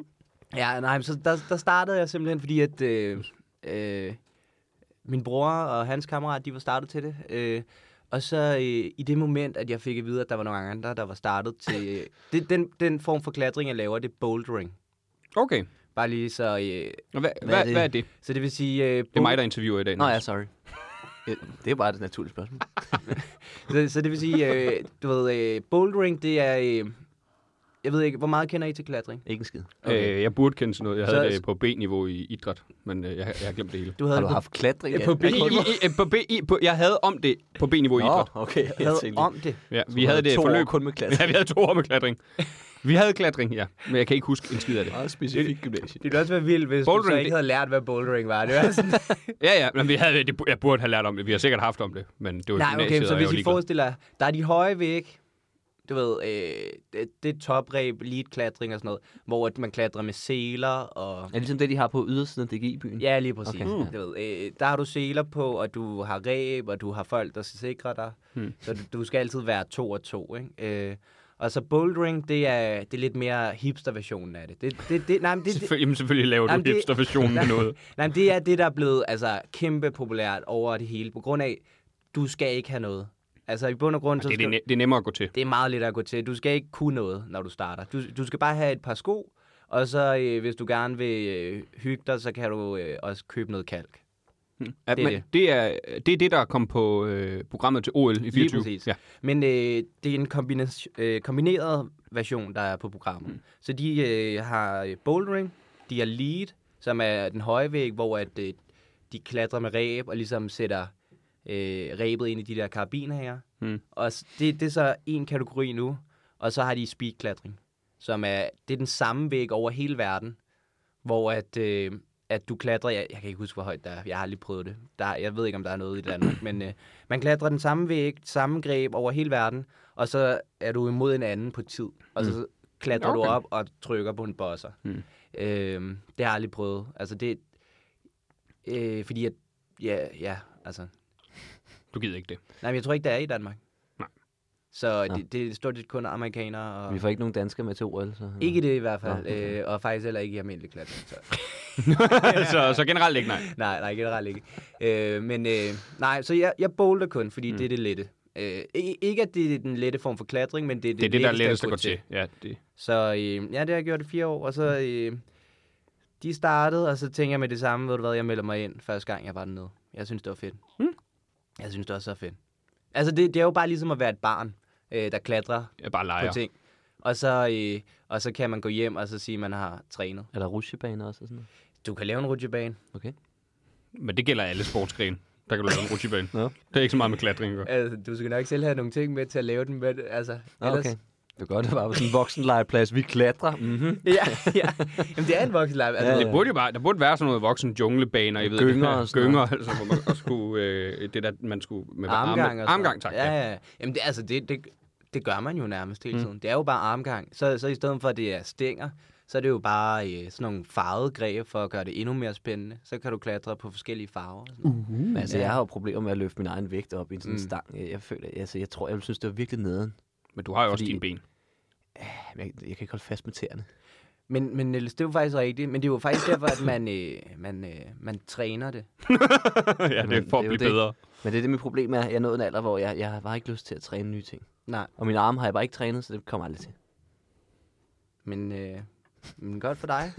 ja, nej, men så der, der startede jeg simpelthen, fordi at øh, øh, min bror og hans kammerat, de var startet til det. Øh, og så øh, i det moment, at jeg fik at vide, at der var nogle andre, der var startet til... Øh, det, den, den form for klatring, jeg laver, det er bouldering.
Okay.
Bare lige så... Øh,
Og Hvad,
Hvad er
hvad,
det?
hvad er det?
så det vil sige... Øh,
Det er mig, der interviewer i dag.
Nå ja,
Niels.
sorry. Ja, Det er bare et naturligt spørgsmål.
Så, så det vil sige, øh, du ved, øh, bouldering, det er... Øh, jeg ved ikke, hvor meget kender I til klatring?
Ikke en skid.
Okay.
Øh, jeg burde kende sådan noget. Jeg havde
Så-
det på B-niveau i idræt, men øh, jeg, jeg har glemt det hele.
Du havde
Har du
det på,
haft klatring?
Ja, på
I, I, I, øh, på B, I, på, jeg havde om det på B-niveau i idræt.
Nå, okay. Jeg
havde
tænkte-
om det.
Ja,
Så
vi
du
havde det
to
forløb.
År kun med
Ja,
klatring.
vi havde to år med klatring. Vi havde klatring, ja. Men jeg kan ikke huske en skid af det.
Meget specifikt gymnasie.
Det ville også være vildt, hvis
Bouldering,
du så
det-
ikke havde lært, hvad bouldering var. Det var sådan,
Ja, ja, men vi havde, det, jeg burde have lært om det. Vi har sikkert haft om det, men det var i
nej,
gymnasiet,
okay,
og
så
jeg
hvis
var
I
ligeglad.
forestiller jer, der er de høje væg, du ved, øh, det, det er topreb, lead klatring og sådan noget, hvor at man klatrer med seler og...
Er det ligesom det, de har på ydersiden af DGI-byen?
Ja, lige præcis.
Mm. Okay.
Mm.
Okay. Du ved, øh, der har du seler på, og du har
Mm.
ræb, og du har folk, der sikrer dig. Hmm. Så du, du skal altid være to og to. Ikke? Øh, Og så bouldering, det er, det er lidt mere hipster-versionen af det. det, det, det, nej, men det, det
Selvfølgelig, jamen, selvfølgelig laver du
Jamen, det-
hipster-versionen af noget.
Nej, men det er det, der er blevet altså, kæmpe populært over det hele, på grund af, du skal ikke have noget. Altså i bund og grund, så
Det er,
skal,
det, ne- det er nemmere at gå til.
det er meget lidt at gå til. Du skal ikke kunne noget, når du starter. Du, du skal bare have et par sko, og så øh, hvis du gerne vil øh, hygge dig, så kan du øh, også købe noget kalk.
Ja,
det er
men
det.
det, er, det er det, der kom på øh, programmet til OL i 24.
Lige præcis.
Ja.
Ja. Men øh, det er en kombina- øh, kombineret version, der er på programmet. Mm. Så de øh, har øh, bouldering, de har lead, som er den høje væg, hvor at, øh, de klatrer med ræb og ligesom sætter øh, ræbet ind i de der karabiner her.
Mm.
Og s- det, det er så en kategori nu. Og så har de speedklatring, som er, det er den samme væg over hele verden, hvor at, øh, at du klatrer, jeg, jeg kan ikke huske, hvor højt der er, jeg har aldrig prøvet det. Der, jeg ved ikke, om der er noget i Danmark, men øh, man klatrer den samme væg, samme greb over hele verden, og så er du imod en anden på tid, og
Mm.
så klatrer okay. du
Okay.
op og trykker på en bosser.
Mm.
Øhm, det har jeg aldrig prøvet. Altså det, øh, fordi at, ja, ja, altså,
Du gider ikke det.
nej, men jeg tror ikke, der er i Danmark.
Nej.
Så
Nå.
det, det er stort set kun amerikanere og...
Vi får ikke nogen danskere med til OL, så...
Ikke det i hvert fald,
Nå, okay.
øh, og faktisk heller ikke i almindelig klatring. Så.
så, så generelt ikke nej.
nej, nej, generelt ikke. Øh, men øh, nej, så jeg, jeg bowler kun, fordi mm. det er det lette. Øh, i- ikke at det er den lette form for klatring, men det er det,
Det er det, der er lettest
letteste
at gå
gå
til. Mm. Ja, det.
Så øh, ja, det har jeg gjort i fire år, og så øh, de startede, og så tænker jeg med det samme, ved du hvad, jeg melder mig ind første gang, jeg var dernede. Jeg synes, det var fedt.
Mm.
Jeg synes, det var så fedt. Altså, det, det er jo bare ligesom at være et barn, øh, der klatrer
Jeg bare
på
leger.
ting. Og så, øh, og så kan man gå hjem og så sige, at man har trænet.
Er der rutsjebaner også og sådan noget?
Du kan lave en rutsjebane.
Okay.
Men det gælder alle sportsgrene. Der kan du lave en rutsjebane.
Nå.
Det er ikke så meget med klatring at gøre.
Altså, du skal nok selv have nogle ting med til at lave den med, altså,
Nå, okay. Det var godt, det var på sådan en voksenlegeplads. Vi klatrer. Mm-hmm.
ja, ja. Jamen, det er en voksenlejr. Altså,
Ja,
ja,
Det burde jo bare, der burde være sådan noget voksen junglebaner, I ved det.
Gynger og sådan
Gynger, altså, hvor man også skulle, øh, det der, man skulle med
Armgang og
arme,
sådan
armgang, tak.
noget.
Ja.
Ja, ja. Jamen, det, altså, det, det, det gør man jo nærmest hele tiden. Det er jo bare armgang. Så, så i stedet for, at det er stænger, så er det jo bare øh, sådan nogle farvede greb for at gøre det endnu mere spændende. Så kan du klatre på forskellige farver. og Sådan. Uh.
Men altså,
Ja.
jeg har jo problemer med at løfte min egen vægt op i sådan en
Mm.
stang. Jeg, jeg føler, altså, jeg tror, jeg ville synes, det var virkelig nederen.
Men du har jo også
Fordi-
dine ben.
Jamen, Jeg, jeg kan ikke holde fast med tæerne.
Men, men Niels, det er jo faktisk rigtigt. Men det er jo faktisk derfor, at man, øh, man, øh, man træner det.
ja, det er
Jamen,
for
det
at
er
blive
jo det.
bedre.
Men det er det, mit problem er. at Jeg nåede en alder, hvor jeg, jeg har bare ikke lyst til at træne nye ting.
Nej,
Og mine arme har jeg bare ikke trænet, så det kommer aldrig til.
men, øh, men godt for dig.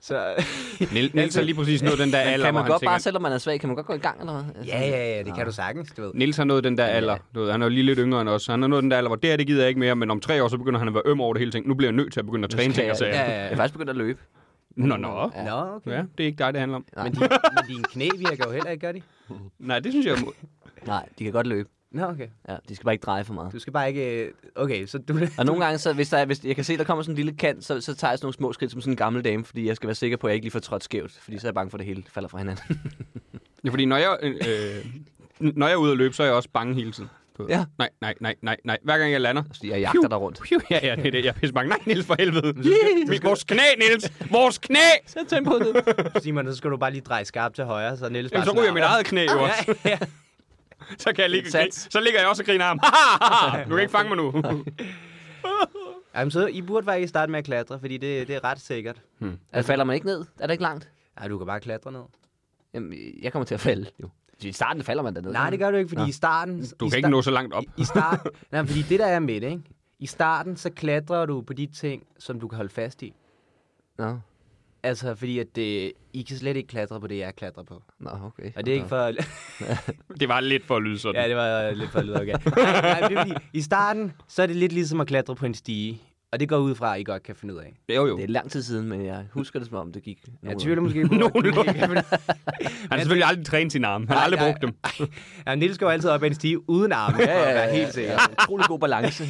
så...
Niel- Niels har lige præcis nået den der alder,
kan
hvor
man
han
godt
tænker,
bare, selvom man er svag, kan man godt gå i gang eller hvad? Altså,
Ja, ja, ja, det kan du sagtens, du ved.
Niels har nået den der alder. Du ved, han er jo lige lidt yngre end os. Han har nået den der alder, hvor det her, det gider jeg ikke mere. Men om tre år, så begynder han at være øm over det hele ting. Nu bliver jeg nødt til at begynde at træne ting og
Altså, jeg,
sager.
ja.
jeg er faktisk begyndt at løbe.
Nå, nå.
Nå, okay.
Ja, det er ikke dig, det handler om.
Men, din, men dine knæ virker jo heller ikke, gør de?
Nej, det synes jeg er mo-
Nej, de kan godt løbe.
Nå, okay.
Ja, de skal bare ikke dreje for meget.
Du skal bare ikke... øh, Okay, så du...
Og nogle gange, så, hvis, der er, hvis jeg kan se, der kommer sådan en lille kant, så, så tager jeg sådan nogle små skridt som sådan en gammel dame, fordi jeg skal være sikker på, at jeg ikke lige får trådt skævt, fordi så er jeg bange for, at det hele falder fra hinanden.
Ja, fordi når jeg, øh, øh, n- når jeg er ude at løbe, så er jeg også bange hele tiden. Du ved,
Ja.
Nej, nej, nej, nej, nej. Hver gang jeg lander.
Fordi jeg jagter dig rundt.
Piu, ja, ja, det er det. Jeg er pisse bange. Nej, Niels, for helvede. Mit- Vores knæ, Niels. Vores knæ.
Sæt tempoet ned.
Simon, så skal du bare lige dreje skarpt til højre, så Niels bare...
Jamen, så ryger jeg mit
snart-
eget knæ jo også.
Ja, ja.
Så, kan jeg ligge, og grine.
Sats.
så ligger jeg også og griner af ham. du kan ikke fange mig nu.
Jamen, så I burde faktisk starte med at klatre, fordi det, det er ret sikkert.
Altså, falder man ikke ned? Er det ikke langt?
Nej, du kan bare klatre ned.
Jamen, jeg kommer til at falde, jo. I starten falder man dernede.
Nej, det gør du ikke, fordi i starten...
Du
i
kan ikke
sta-
nå så langt op.
I starten... Nej, fordi det der er med det, ikke? I starten, så klatrer du på de ting, som du kan holde fast i.
Nå,
Altså, fordi at det, I kan slet ikke klatre på det, jeg klatrer på.
Nå okay.
Og det er ikke
for...
for...
Det var lidt for at lyde sådan.
Ja, det var øh, lidt for at lyde okay. nej, nej, det er fordi, I starten, så er det lidt ligesom at klatre på en stige. Og det går ud fra, at I godt kan finde ud af.
Jo, jo.
Det er lang tid siden, men jeg husker det, som om det gik.
Jeg
nogenlunde.
tvivler måske på, at du ikke kan finde
Han har selvfølgelig aldrig trænet sine arme. Han har
Nej,
aldrig
nej.
brugt dem.
Ja, Niels går altid op ad en stige uden arme, ja, ja, ja, for at være helt sikker.
Ja, utrolig god balance.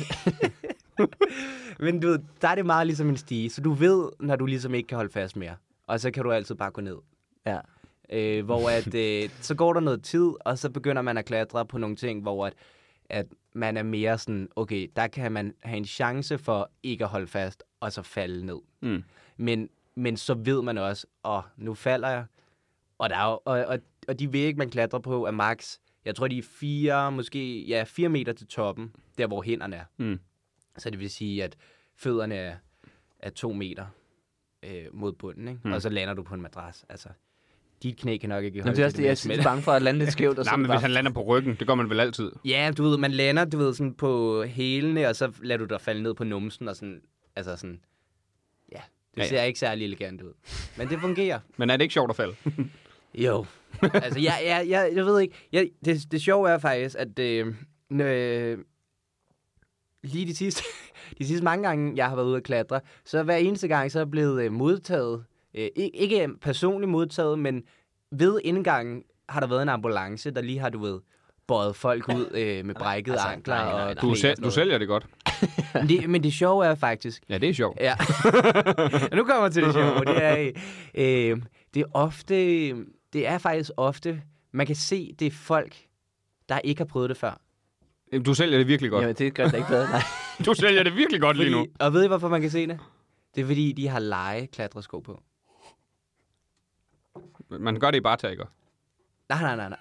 Men du ved, der er det meget ligesom en stige, så du ved, når du ligesom ikke kan holde fast mere. Og så kan du altid bare gå ned.
ja.
Øh, hvor at, øh, så går der noget tid, og så begynder man at klatre på nogle ting, hvor at, at man er mere sådan, okay, der kan man have en chance for ikke at holde fast, og så falde ned.
Mm.
Men, men så ved man også, og oh, nu falder jeg. Og, der er jo, og, og, og de vægge, man klatrer på, er max, jeg tror, de er fire, måske, ja, fire meter til toppen, der hvor hænderne er.
Mm.
Så det vil sige, at fødderne er, er to meter øh, mod bunden, ikke? Mm. og så lander du på en madras. Altså, dit knæ kan nok ikke
Nå,
holde
det er også det, jeg er lidt bange for at lande lidt skævt.
Nej,
Og sådan
men hvis han
bare...
lander på ryggen, det gør man vel altid.
Ja, du ved, man lander, du ved, sådan på hælene, og så lader du dig falde ned på numsen, og sådan, altså sådan, ja, det
Ja, ja.
ja, ja. ser ikke særlig elegant ud. Men det fungerer.
Men er det ikke sjovt at falde?
Jo. altså, jeg, jeg, jeg, jeg ved ikke. Jeg, det, det sjove er faktisk, at øh, nø- øh, lige de sidste, de sidste mange gange, jeg har været ude at klatre, så hver eneste gang, så er jeg blevet øh, modtaget. Øh, ikke, ikke personligt modtaget, men ved indgangen har der været en ambulance, der lige har, du ved, bøjet folk ud øh, med brækkede altså, ankler nej, nej, nej. og knæ
Du,
og
sæl-
sådan
du
noget.
sælger det godt.
Men det, men det sjove er faktisk,
Ja, det er sjovt.
Ja. nu kommer jeg til det sjove. Det er, øh, det er ofte, det er faktisk ofte, man kan se, det er folk, der ikke har prøvet det før.
Du sælger det virkelig godt.
Jamen, det gør det da ikke bedre. Nej.
Du sælger det virkelig godt lige nu.
Fordi, og ved I, hvorfor man kan se det? Det er, fordi de har lege klatresko på.
Man gør det i bartager.
Nej, nej, nej, nej.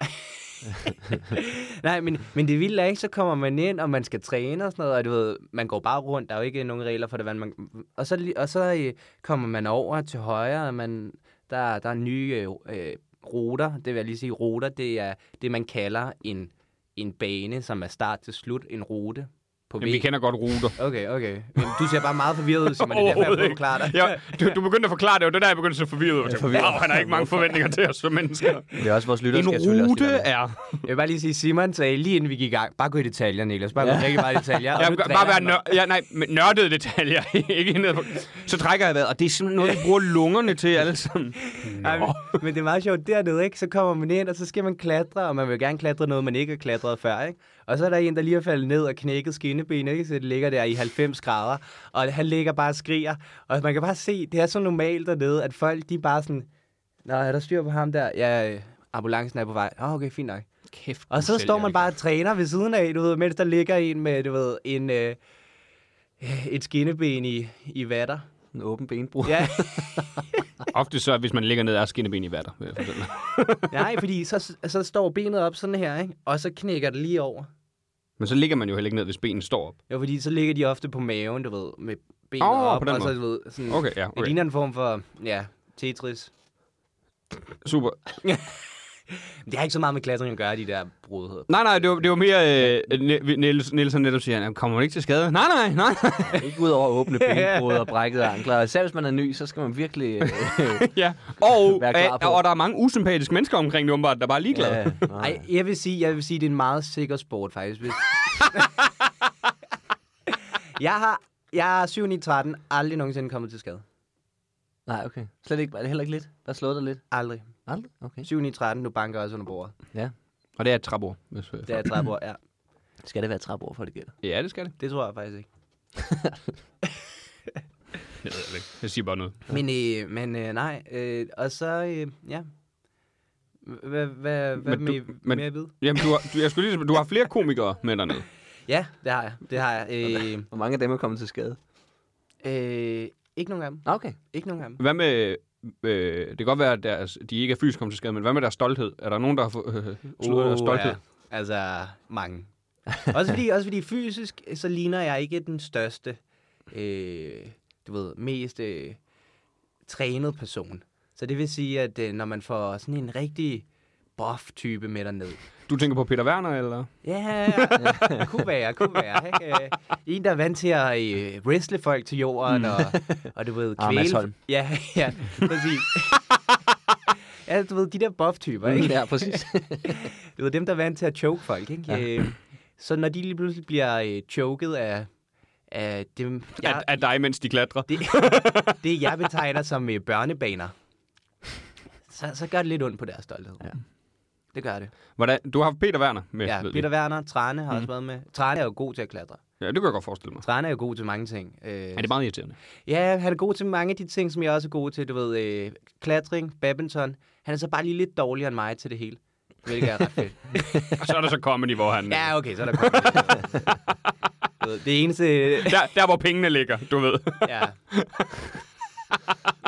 nej, men, men det vilde er ikke, så kommer man ind, og man skal træne og sådan noget, og du ved, man går bare rundt, der er jo ikke nogen regler for det, hvad man, og så, li- og så øh, kommer man over til højre, og man, der, der er nye øh, øh, ruter, det vil jeg lige sige, ruter, det er det, man kalder en, en bane, som er start til slut, en rute på
Jamen, vi
V.
kender godt ruter.
Okay, okay. Men du ser bare meget forvirret ud, Simon, det er derfor, jeg
Overhovedet
prøver at
ikke.
forklare dig.
Ja, du, du begyndte at forklare det, og det var der, jeg begyndte at se forvirret. ud. Jeg tænkte, wow, han har ikke mange forventninger til os som mennesker.
Det er også vores lytter,
En
skal selvfølgelig også
rute
lige være med.
er...
Jeg vil bare lige sige, Simon sagde lige inden vi gik i gang, bare gå i detaljer, Niklas, bare gå rigtig meget i detaljer. og
Ja,
nu
bare
driller
være
han mig.
nør- ja, nej, men nørdede detaljer. ikke ned på. Så trækker jeg vejret, og det er simpelthen noget, vi bruger lungerne til alle sammen.
Ej, men, men det er meget sjovt dernede, ikke? Så kommer man ind, og så skal man klatre, og man vil gerne klatre noget, man ikke har klatret før, ikke? Og så er der en, der lige er faldet ned og knækket skinnebenet, ikke? Så det ligger der i 90 grader, og han ligger bare og skriger. Og man kan bare se, det er så normalt dernede, at folk, de er bare sådan... Nå, er der styr på ham der? Ja, øh, ambulancen er på vej. Åh, oh, okay, fint nok.
Kæft,
Og så står man bare og træner ved siden af, du ved, mens der ligger en med, du ved, en... Øh, et skinneben i, i vatter.
En åben benbrud.
Ja.
Ofte så, hvis man ligger ned, er skinneben i vatter. vil jeg fortælle dig.
Nej, fordi så, så står benet op sådan her, ikke? og så knækker det lige over.
Men så ligger man jo heller ikke ned, hvis benene står op.
Jo, fordi så ligger de ofte på maven, du ved, med benet
Åh,
op,
på den
og så,
måde.
du ved, sådan,
Okay, ja,
det
okay.
ligner en form for, ja, Tetris.
Super.
Det har ikke så meget med klatring at gøre, de der brud.
Nej, nej, det var, det var mere... Øh, Ni- Niels, Niels han netop siger, han kommer man ikke til skade? Nej, nej, nej. nej.
Ikke ud over åbne benbrud og brækkede ankler. Og Selv hvis man er ny, så skal man virkelig... Øh,
ja. Og,
Vær klar på.
øh, og der er mange usympatiske mennesker omkring det, åbenbart, der bare er ligeglade.
ja,
Ja.
nej.
Ej, jeg vil sige, jeg vil sige, det er en meget sikker sport, faktisk. Hvis... jeg har, jeg er 7 9, 13, aldrig nogensinde kommet til skade.
nej, okay. Slet ikke, er det heller ikke lidt? Bare slået dig lidt?
Aldrig.
Aldrig? Okay.
7 9, 13, du banker også under bordet.
Og det er et trapord. Hvis, øh,
Det er 30 år, ja.
Skal det være træbord, for det gælder?
Ja, det skal det.
Det tror jeg faktisk ikke.
Jeg, ved det ikke. jeg siger bare noget.
Men, øh, men øh, nej, øh, og så, øh, ja. Hvad hvad, hvad
Men
med,
du- men-
mere ved?
Jamen, du har, du, jeg skulle lige, sige, du har flere komikere med dernede.
Ja, det har jeg. Det har jeg. Øh,
Hvor mange af dem er kommet til skade?
øh, ikke nogen af dem.
Nå, Okay.
Ikke nogen af dem.
Hvad med... Øh, det kan godt være, at deres, de ikke er fysisk kommet til skade, men hvad med deres stolthed? Er der nogen, der har fået, øh, slået deres stolthed?
Uh, ja. Altså, mange. også, fordi, også fordi fysisk, så ligner jeg ikke den største, øh, du ved, mest øh, trænet person. Så det vil sige, at øh, når man får sådan en rigtig buff-type med derned,
Du tænker på Peter Werner, eller?
Ja, ja, ja. kunne være, kunne være. Ikke? Øh, En, der er vant til at øh, wrestle folk til jorden, og, og du ved,
Ah,
kvæle...
Mads Holm.
Ja, ja, præcis. ja, du ved, de der buff-typer, ikke?
Mm, Ja, præcis.
Du ved, dem, der er vant til at choke folk, ikke? Ja. Øh, så når de lige pludselig bliver øh, choket af, af dem,
Ja.
jeg,
At, at dig, mens de klatrer?
det, det, jeg betegner som øh, børnebaner, så, så gør det lidt ondt på deres stolthed. Ja. Det gør det.
Hvordan, du har haft Peter Werner med.
Ja,
ved vi.
Peter Werner, Trane har også været med. Trane er jo god til at klatre.
ja, det kan jeg godt forestille mig.
Trane er jo god til mange ting. Øh, er
Er det meget irriterende?
Ja, han er god til mange af de ting, som jeg også er god til. Du ved, øh, klatring, badminton. Han er så bare lige lidt dårligere end mig til det hele. Hvilket er ret fedt.
Og så er der så comedy, hvor han...
ja, okay, så er der kommet. Du ved, det eneste...
Der, der, hvor pengene ligger, du ved.
Ja.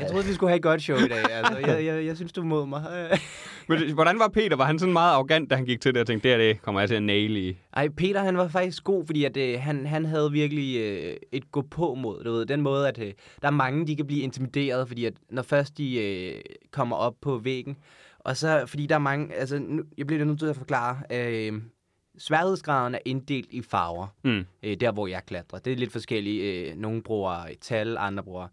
Jeg troede, vi skulle have et godt show i dag. Altså, jeg, jeg, jeg synes, du er mod mig.
Men det- hvordan var Peter? Var han sådan meget arrogant, da han gik til det og tænkte, det her det kommer jeg til at naile i?
Ej, Peter han var faktisk god, fordi at, øh, han, han havde virkelig øh, et gå på mod, du ved, den måde, at øh, der er mange, de kan blive intimideret, fordi at når først de øh, kommer op på væggen, og så, fordi der er mange, altså, nu, jeg bliver nødt til at forklare, øh, sværhedsgraden er inddelt i farver,
Mm.
øh, der hvor jeg klatrer. Det er lidt forskelligt, øh, nogle bruger et tal, andre bruger.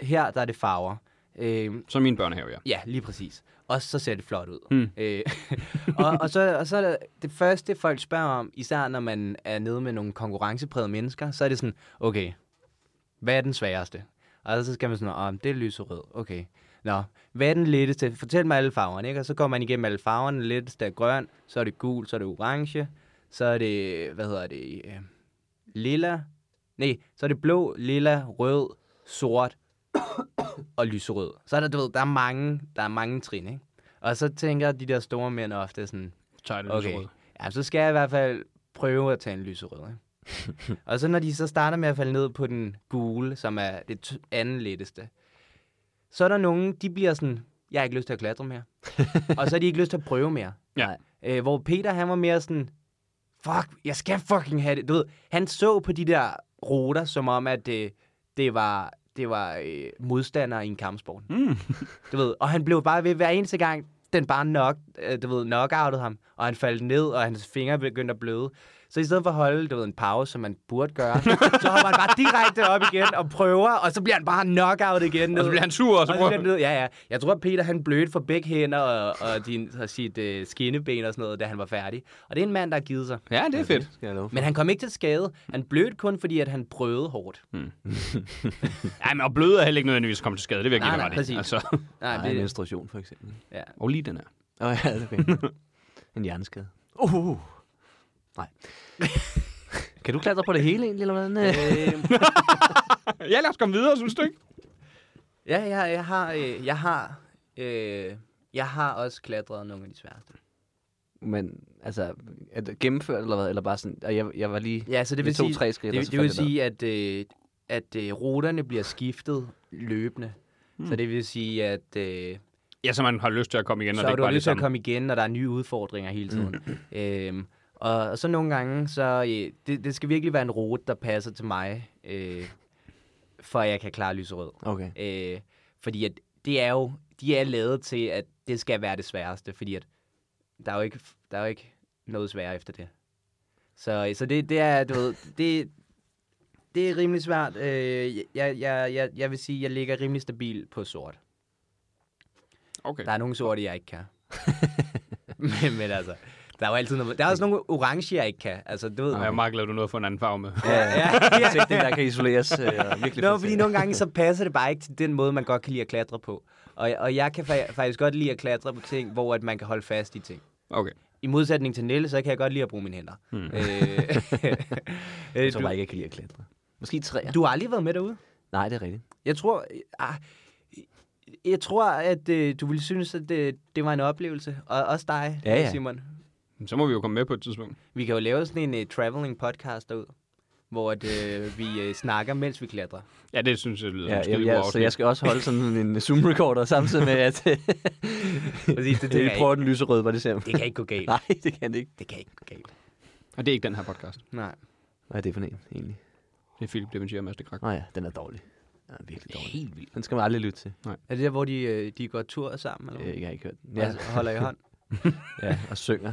Her, der er det farver. Øh,
Så mine børnehave, ja.
Ja, lige præcis. Og så ser det flot ud.
Hmm.
Øh, og, og, så, og så er det, det første, folk spørger om, især når man er nede med nogle konkurrenceprægede mennesker, så er det sådan, okay, hvad er den sværeste? Og så skal man sådan, oh, det er lyserød, okay. Nå, hvad er den letteste? Fortæl mig alle farverne, ikke? Og så går man igennem alle farverne. Den letteste er grøn, så er det gul, så er det orange, så er det, hvad hedder det, øh, lilla. Nej, så er det blå, lilla, rød, sort, og lyserød. Så er der, du ved, der er mange, der er mange trin, ikke? Og så tænker de der store mænd ofte sådan,
Så er det
okay, ja, så skal jeg i hvert fald prøve at tage en lyserød, ikke? og så når de så starter med at falde ned på den gule, som er det t- anden letteste, så er der nogen, de bliver sådan, jeg har ikke lyst til at klatre mere. og så har de ikke lyst til at prøve mere.
Ja.
Øh, hvor Peter, han var mere sådan, fuck, jeg skal fucking have det. Du ved, han så på de der ruter, som om, at det, det var, det var øh, modstandere i en kampsport.
Mm.
Du ved, og han blev bare ved hver eneste gang, den bare nok, øh, du ved, knockoutede ham, og han faldt ned, og hans fingre begyndte at bløde. Så i stedet for at holde, du ved, en pause, som man burde gøre, så hopper han bare direkte op igen og prøver, og så bliver han bare knockout igen.
Og så bliver han sur, og så
Og så
prøver
bliver han ned. Ja, ja. Jeg tror, at Peter han blødte for begge hænder og, og, din, og sit øh, skinneben og sådan noget, da han var færdig. Og det er en mand, der har givet sig.
Ja, det er fedt.
Skal jeg love for.
Men han kom ikke til skade. Han blødte kun, fordi at han prøvede hårdt.
Hmm. Ej, men og bløde er heller ikke nødvendigvis kommet til skade. Det vil jeg
Nej,
give dig
nej,
ret i.
præcis.
Altså.
Nej,
Nej,
det,
en menstruation for eksempel.
ja.
Og lige den her.
Åh oh, ja, det er okay. en hjerneskade. Uh, nej. kan du klatre på det hele egentlig, eller hvordan? øh?
Øh,
Ja, lad os komme videre, synes du ikke?
ja, jeg, jeg har, øh, jeg har, øh, jeg har også klatret nogle af de sværeste.
Men altså, er det gennemført eller hvad? Eller bare sådan, og jeg, jeg var lige...
Ja, så det vil
to,
sige,
tre skridt, og så
det, det
faldt
vil
jeg ned.
sige, at, øh, at øh, ruterne bliver skiftet løbende.
Hmm.
Mm. Så det vil sige, at øh,
Ja, så man har lyst til at komme igen, og
så
det
er
ikke
du
bare
nødt
det
til at
samme.
komme igen, når der er nye udfordringer hele tiden.
Hmm.
Mm. Øhm, og, og så nogle gange, så øh, det, det skal virkelig være en rute, der passer til mig, øh, for at jeg kan klare lyserød.
Okay.
Øh, fordi at det er jo, de er lavet til, at det skal være det sværeste, fordi at der er jo ikke, der er jo ikke noget sværere efter det. Så, så det, det er, du ved, det, det er rimelig svært. Øh, jeg, jeg, jeg, jeg vil sige, jeg ligger rimelig stabil på sort.
Okay.
Der er nogle sorte, jeg ikke kan. men, men altså, der er jo altid noget. Der er også nogle orange, jeg ikke kan. Altså, du ved.
Jeg er meget glad, du nåede at få en anden farve med.
Ja, ja, ja.
Ja. Det der kan isoleres øh, og virkelig
Nå, fordi nogle gange så passer det bare ikke til den måde, man godt kan lide at klatre på. Og, og jeg kan fa- faktisk godt lide at klatre på ting, hvor at man kan holde fast i ting.
Okay.
I modsætning til Nelle, så kan jeg godt lide at bruge mine hænder. Hmm. Øh,
Jeg tror
du,
bare ikke, jeg kan lide at klatre. Måske træer.
du har aldrig været med derude?
Nej, det er rigtigt.
Jeg tror, ah, jeg tror at øh, du ville synes, at det, det var en oplevelse. Og også dig,
Ja, ja.
Simon.
Men Så må vi jo komme med på et tidspunkt.
Vi kan jo lave sådan en uh, traveling podcast derud, hvor at, øh, vi øh, snakker, mens vi klatrer.
Ja, det synes jeg lyder
Ja,
ja,
ja,
skide
ja, så jeg skal også holde sådan en Zoom-recorder samtidig med, at
Præcis, det,
vi prøver den lyserøde, var det ser.
det kan ikke gå galt.
Nej, det kan det ikke.
Det kan ikke gå galt.
Og det er ikke den her podcast.
Nej.
Hvad er det for en, egentlig?
Det er Philip Deventia og Master Krak.
Nå ja, den er dårlig. Den er virkelig dårlig. Helt vildt. Den skal man aldrig lytte til.
Er det der, hvor de, øh, de går tur sammen? Eller? hvad?
Øh, Jeg har ikke hørt den.
Ja.
Ja,
Altså, holder i hånd?
ja, og synger.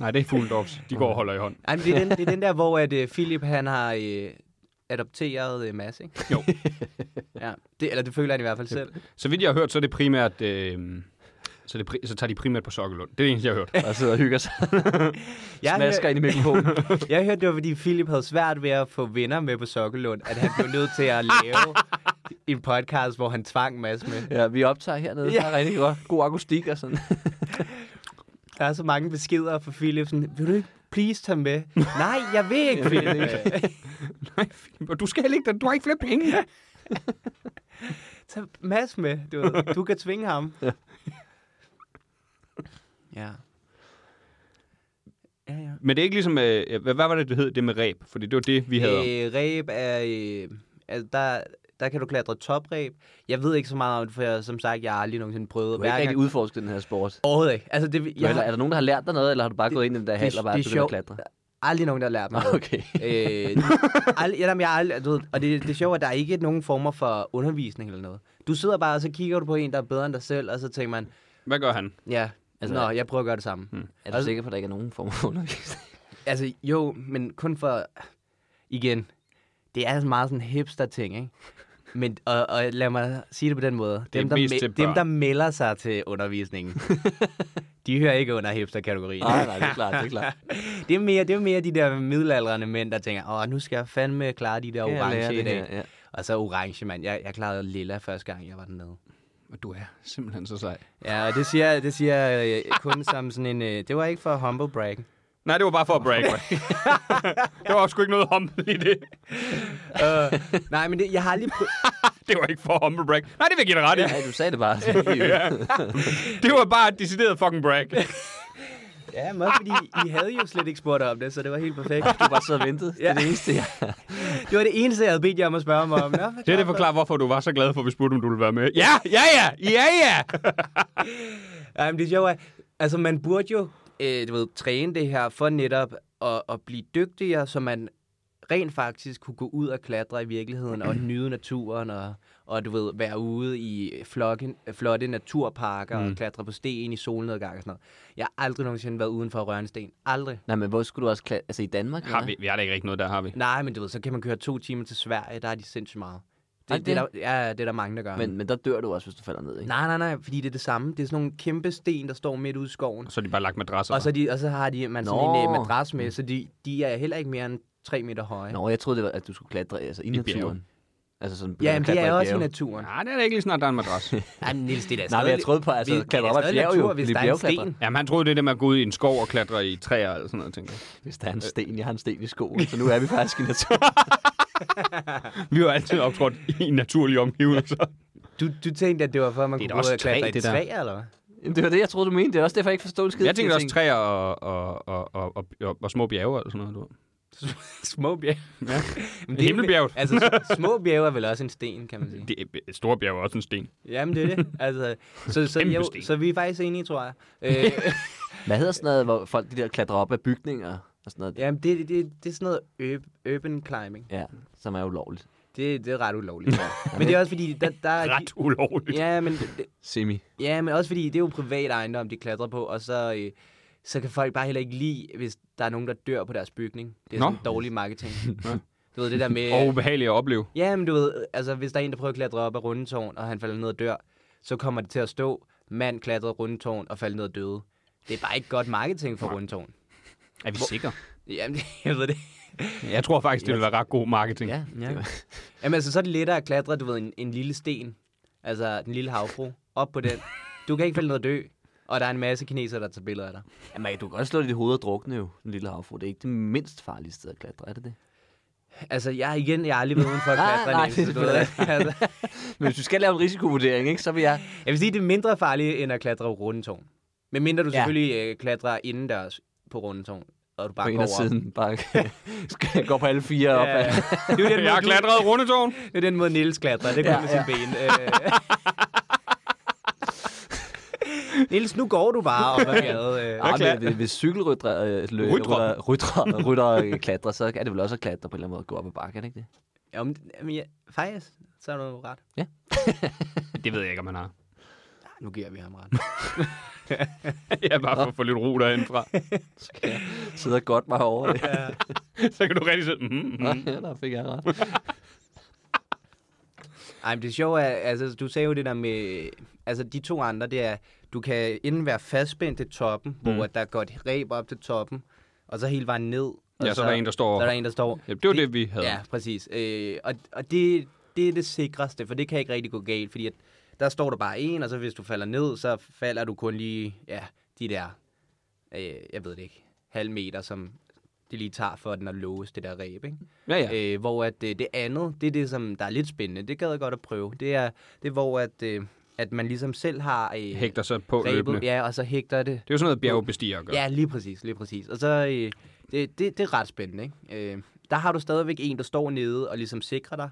Nej, det er Full Dogs. De går og holder i hånd.
Ej, men det, er den, det er den der, hvor at, øh, Philip han har øh, adopteret øh, Mads, ikke?
Jo.
Ja. Det, eller det føler han i hvert fald selv.
Så vidt jeg har hørt, så er det primært... Øh, så, det, pri- så tager de primært på Sokkelund. Det er det eneste, jeg har hørt.
Og sidder og hygger sig.
Jeg,
Smasker
hør,
ind i mikrofonen.
jeg hørte, det var, fordi Philip havde svært ved at få venner med på Sokkelund, at han blev nødt til at lave en podcast, hvor han tvang Mads med.
Ja, vi optager hernede.
Ja.
Ja. Der er rigtig godt. god akustik og sådan.
Der er så mange beskeder fra Philip, sådan, vil du ikke please tage med? Nej, jeg vil ikke, Philip.
Nej, Philip, og du skal heller ikke... Du har ikke flere penge.
Tag Mads med, du, ved. du kan tvinge ham. Ja. Ja, ja.
Men det er ikke ligesom... Øh, hvad, hvad var det, det hed? Det med ræb. Fordi det var det, vi havde.
Øh, ræb er... Øh, altså, der, der kan du klatre topræb. Jeg ved ikke så meget om det, for jeg, som sagt, jeg har aldrig nogensinde prøvet.
Du har
Hver
ikke
gang-
rigtig udforsket den her sport.
Overhovedet ikke. Altså, det,
Ja.
jeg
Eller,
har
er der nogen, der har lært dig noget, eller har du bare det, gået ind i den der hal og bare
det er
begyndt at
sjovt.
klatre?
aldrig nogen, der har lært mig noget.
Okay.
øh, ald, ja, jamen, jeg har aldrig, du ved, og det, det er sjovt, at der er ikke nogen former for undervisning eller noget. Du sidder bare, og så kigger du på en, der er bedre end dig selv, og så tænker man,
Hvad gør han?
ja,
Altså,
altså, nå, jeg prøver at gøre det samme. Hmm.
Er du sikker på, at der ikke er nogen form for undervisning?
Altså, jo, men kun for... Igen, det er altså meget sådan hipster-ting, ikke? Men, og, og lad mig sige det på den måde.
er
Dem, der,
mest til
dem
børn.
der melder sig til undervisningen, de hører ikke under hipster-kategorien.
Nej, nej, det er klart, det er klart.
det, er mere, det er mere de der middelaldrende mænd, der tænker, åh, nu skal jeg fandme klare de der orange i dag.
ja.
Og så orange, mand. Jeg, jeg klarede lilla første gang, jeg var dernede.
Og du er simpelthen så sej.
Ja, og det siger, det siger jeg øh, kun som sådan en... Øh, det var ikke for humble brag.
Nej, det var bare for at break. det var sgu ikke noget humble i det.
Uh, nej, men det, jeg har lige prøvet...
Det var ikke for at humble break. Nej, det vil jeg give dig ret i.
Ja, du sagde det bare. så det gik jo.
Det var bare et decideret fucking break.
Ja, men også fordi I havde jo slet ikke spurgt om det, så det var helt perfekt.
Du bare sad og ventede. Det er
Ja.
det eneste, jeg...
Det var det eneste, jeg havde bedt jer om at spørge mig om. Nå, hvad
Det er
gør
det
du?
forklarer, hvorfor du var så glad for, at vi spurgte, om du ville være med. Ja, ja, ja, ja, ja.
Ej, men det sjove er, altså man burde jo, øh, du ved, træne det her for netop at, at blive dygtigere, så man rent faktisk kunne gå ud og klatre i virkeligheden og nyde naturen og, og du ved, være ude i flokken, flotte naturparker mm. og klatre på sten i solnedgang og sådan noget. Jeg har aldrig nogensinde været uden for at røre en sten. Aldrig.
Nej, men hvor skulle du også klatre? Altså i Danmark?
Har
eller?
vi, vi har da ikke rigtig noget der, har vi.
Nej, men du ved, så kan man køre to timer til Sverige, der er de sindssygt meget. Det,
Er
det,
det
det, er, der, ja, det er der mange, der gør.
Men, men der dør du også, hvis du falder ned, ikke?
Nej, nej, nej, fordi det er det samme. Det er sådan nogle kæmpe sten, der står midt ude i skoven.
Så er de bare lagt madrasser.
Og så, de, og så har de man sådan
Nå.
en øh, madras med, så de, de er heller ikke mere end 3 meter høje.
Nå, jeg troede, det var, at du skulle klatre altså, i, naturen.
bjerge.
Altså sådan
Ja, men
men
det er også i naturen.
Nej, det er da ikke lige snart, der er en madras.
Nej, men Niels, det er da
Nej, men jeg
stadig-
troede på, altså,
vi-
klatre
det er
op ad et
stadig
bjerg
natur,
jo.
hvis
Blive
der er en
bjergklatrer.
sten.
Jamen, han troede, det er det med at gå ud i en skov og klatre i træer eller sådan noget, tænker jeg.
Hvis der er en sten, jeg har en sten i skoen, så nu er vi faktisk i naturen.
Vi har jo altid optrådt i naturlige omgivelser.
Du, du tænkte, at det var for, at man
Det er da
kunne
også
gå og klatre
træ,
i
det der.
træ, eller hvad?
Jamen, det var det, jeg troede, du mente. Det er også derfor, jeg ikke forstod skidt.
Jeg tænkte også træer og, og, og, og, og, og, og små bjerge eller sådan noget. Du. ved.
små bjerge.
Ja.
Men
Himmelbjerget.
Altså, s- små bjerge er vel også en sten, kan man sige.
Det er, et stort bjerg er også en sten.
Jamen, det er det. Altså, så, så,
Kæmpe
jo,
sten.
så vi er faktisk enige, tror jeg. Øh,
Hvad hedder sådan noget, hvor folk de der klatrer op ad bygninger og sådan noget? Ja.
jamen, det, det, det er sådan noget øb- urban climbing.
ja som er ulovligt.
Det, det er ret ulovligt. tror jeg. men det er også fordi, der, der er...
Ret ulovligt.
Ja, men det,
Semi.
Ja, men også fordi det er jo privat ejendom, de klatrer på, og så, øh, så kan folk bare heller ikke lide, hvis der er nogen, der dør på deres bygning. Det er
Nå.
sådan dårlig marketing. du ved det der med...
Og ubehageligt at opleve.
Ja, men du ved, øh, altså hvis der er en, der prøver at klatre op af rundetårn, og han falder ned og dør, så kommer det til at stå, mand klatrede rundetårn og faldt ned og døde. Det er bare ikke godt marketing for rundetårn.
Er vi sikre?
Jamen, jeg ved det.
Jeg tror faktisk, det vil være ret god marketing.
Ja.
Ja. Jamen altså, så er det lettere at klatre, du ved, en, en lille sten, altså den lille havfru, op på den. Du kan ikke falde ned og dø, og der er en masse kineser, der tager billeder af dig.
Jamen, du kan godt slå dit hoved og drukne jo, den lille havfru. Det er ikke det mindst farlige sted at klatre, er det det?
Altså, jeg igen, jeg har aldrig været uden for at
Nej,
klatre.
Ah, nej,
Niels,
det
du
ved
ved
jeg
det. Altså,
Men hvis du skal lave en risikovurdering, ikke, så vil jeg...
jeg vil sige, det er mindre farligt, end at klatre rundetårn. Men mindre du
Ja.
selvfølgelig øh, klatrer indendørs på rundetårn, og du
På
bare
en
går
af
over.
siden bare skal gå på alle fire op.
Ja,
ad-
det er jo den
Jeg har
måde, du,
klatret rundetårn.
det er den måde Niels klatrer. Det går ja, med ja. sine ben. Øh. Niels, nu går du bare op ad gaden. Øh.
Ja,
klar.
men hvis, hvis cykelrytter, øh, lø-
Rytter.
rytter, rytter, rytter øh, klatrer, så er det vel også at klatre på en eller anden måde at gå op ad bakke, er det ikke det?
Jamen, jamen, ja, faktisk, så er du ret.
Det ved jeg ikke, om han har.
Nu giver vi ham ret.
Jeg er bare for at få lidt ro derindfra.
Sidder godt mig over det.
Så kan du rigtig sige, mm, mm.
Ja, der fik jeg ret.
Ej, men det sjove er, altså, du sagde jo det der med, altså, de to andre, det er, du kan enten være fastspændt til toppen, mm. hvor at der går et ræb op til toppen, og så hele vejen ned. Og
Ja, så er der en, der står
Så er der
over.
en, der står.
Ja, det var det, vi havde.
Ja, præcis. Øh, og og det, det er det sikreste, for det kan ikke rigtig gå galt, fordi at, der står der bare en, og så hvis du falder ned, så falder du kun lige, ja, de der, øh, jeg ved det ikke, halv meter, som det lige tager for den at låse det der ræb, ikke?
Ja, ja.
Øh, hvor at øh, det andet, det er det, som der er lidt spændende. Det gad jeg godt at prøve. Det er, det er hvor at, øh, at man ligesom selv har... Øh,
Hægter sig på
grebet-
løbende.
Ja, og så hægter det.
Det er jo sådan noget, bjergbestiger gør.
Ja, lige præcis, lige præcis. Og så, øh, det, det, det er ret spændende, ikke? Øh, der har du stadigvæk en, der står nede og ligesom sikrer dig,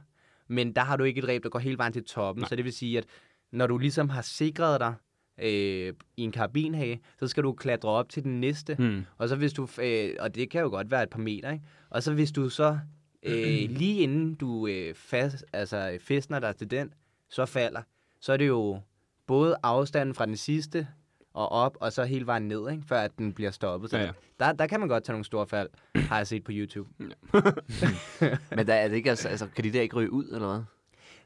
men der har du ikke et ræb, der går hele vejen til toppen. Nej. Så det vil sige, at når du ligesom har sikret dig øh, i en karabinhage, så skal du klatre op til den næste.
Hmm.
Og så hvis du, øh, og det kan jo godt være et par meter, ikke? Og så hvis du så, øh, lige inden du øh, fast, altså, øh, fæstner dig til den, så falder, så er det jo både afstanden fra den sidste og op, og så hele vejen ned, ikke? før at den bliver stoppet. Så
Ja, ja.
Der, der kan man godt tage nogle store fald, har jeg set på YouTube.
Men der er det ikke, altså, altså, kan de der ikke ryge ud, eller hvad?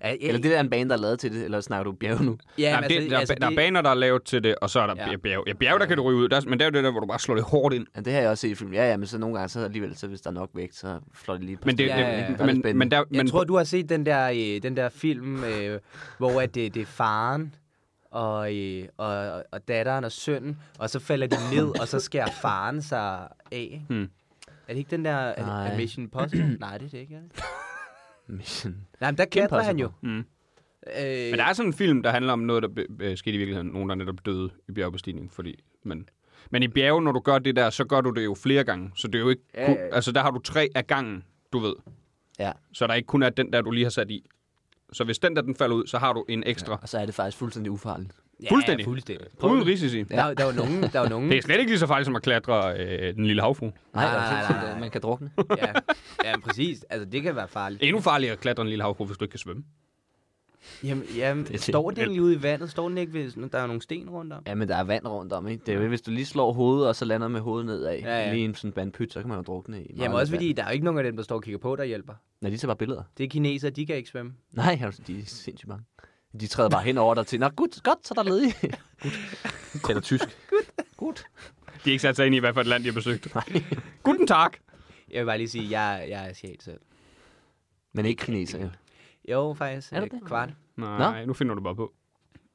Ja,
Eller det der er en bane, der er lavet til det, eller snakker du bjerg nu?
ja,
Jamen,
men
det, der, altså, der er baner, der er lavet til det, og så er der
Ja.
ja. bjerg. Ja, bjerg, der kan du ryge ud, der, men der er jo det der, hvor du bare slår det hårdt ind.
Ja, det har jeg også set i film. Ja, ja, men så nogle gange, så alligevel, så hvis der er nok vægt, så flår de lige på
Men det,
Ja,
ja,
ja, ja.
ja, ja.
Der er lidt
Men, men,
spændende.
der,
Jeg
men,
tror, du har set den der, øh, den der film, øh, hvor at det, det er faren og, øh, og, og datteren og sønnen, og så falder de ned, og så skærer faren sig af. ikke?
Hmm.
Er det ikke den der er,
Nej.
er Mission Impossible? Nej, det er det ikke. Er det?
Mission.
Nej, men der klatrer han jo.
Mm.
Øh,
men der er sådan en film, der handler om noget, der be, be, skete i virkeligheden. Nogen, der netop døde i bjergbestigning, fordi... Men, men i bjerge, når du gør det der, så gør du det jo flere gange. Så det er jo ikke...
Ja,
kun,
ja, ja.
Altså, der har du tre af gangen, du ved.
Ja,
Så der ikke kun er den der, du lige har sat i. Så hvis den der, den falder ud, så har du en ekstra.
og så er det faktisk fuldstændig ufarligt.
ja,
fuldstændig.
fuldstændig.
Ja. Uden risici. Ja.
Der, der var nogen, der var nogen.
Det er slet ikke lige så farligt som at klatre øh, den lille havfru.
Nej,
Nej,
nej,
nej,
nej,
nej.
nej. Man kan drukne.
ja, ja, præcis. Altså, det kan være farligt.
Endnu farligere at klatre den lille havfru, hvis du ikke kan svømme.
Jamen, jamen
Det er
står den
det.
lige ude i vandet? Står den ikke, hvis der er nogle sten rundt om?
Ja, men der er vand rundt om, ikke? Det er jo, hvis du lige slår hovedet, og så lander med hovedet nedad, ja,
ja.
ja. lige i en sådan bandpyt, så kan man jo drukne i. meget
Jamen, også
vand.
fordi der er jo ikke nogen af dem, der står og kigger på, der hjælper.
Nej, de tager bare billeder.
Det er kinesere, de kan ikke svømme.
Nej, altså, de er sindssygt mange. De træder bare hen over dig til, nå, gud, godt, så er der ledig. Gud. Taler tysk. Gud.
De har ikke sat sig ind i, hvad for et land de har besøgt. Nej. Guten Tag.
Jeg vil bare lige sige, at jeg, jeg er asiat selv.
Men ikke kineser, jo.
Jo, faktisk.
Er du
øh,
det?
Kvart.
Nej, nu finder du bare på.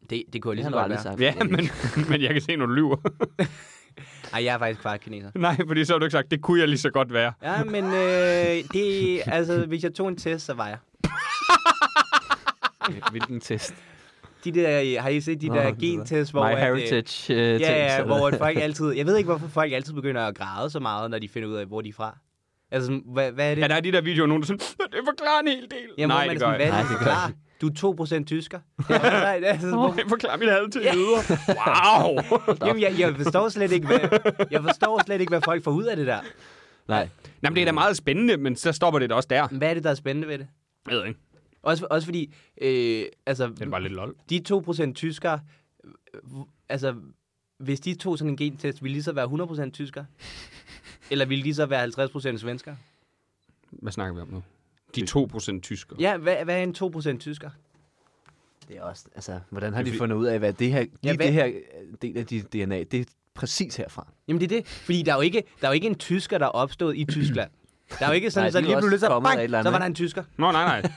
Det, det kunne jeg
Det
lige
har du
så
aldrig
godt være.
Ja,
sagt.
men, men jeg kan se, når du lyver.
Ej, jeg er faktisk kvart kineser.
Nej, fordi så har du ikke sagt, det kunne jeg lige så godt være.
Ja, men øh, det, altså, hvis jeg tog en test, så var jeg.
Hvilken test?
De der, har I set de
Nå,
der
det ved jeg.
gentests, hvor...
My
at, øh,
heritage uh,
Ja, ja, hvor at folk altid... Jeg ved ikke, hvorfor folk altid begynder at græde så meget, når de finder ud af, hvor de er fra. Altså, sådan, hvad, hvad er det?
Ja, der er de der videoer, nogen der er sådan, det forklarer en hel del.
Jamen, hvor
Nej,
man
det
er
gør
sådan,
jeg.
hvad er
ikke.
det, du forklarer? Du er 2% tysker. Nej, det er sådan, hvor-
Det forklarer mit had til jøder. Wow!
Jamen, jeg, jeg, forstår slet ikke, hvad, jeg forstår slet ikke, hvad folk får ud af det der.
Nej.
Jamen, det er da meget spændende, men så stopper det da også der.
Hvad er det, der er spændende ved det?
Jeg ved ikke.
Også, også fordi, øh, altså,
Det er bare lidt lol.
de 2% tyskere, øh, hv- altså, hvis de tog sådan en gentest, ville de så være 100% tyskere? Eller ville de så være 50% svensker?
Hvad snakker vi om nu? De 2% tyskere.
Ja, hvad, hvad er en 2% tysker?
Det er også, altså, hvordan har de fundet ud af, hvad det her, lige
Ja,
ja,
hvad-
det her øh, del af dit DNA, det er præcis herfra.
Jamen det er det, fordi der er jo ikke, der er jo ikke en tysker, der er opstået i Tyskland. Der er jo ikke sådan,
Nej,
så
de er
lige
også
blev nødt til at
kommet af
bang,
et eller
så
andet,
var der en tysker.
Nå, nej, nej.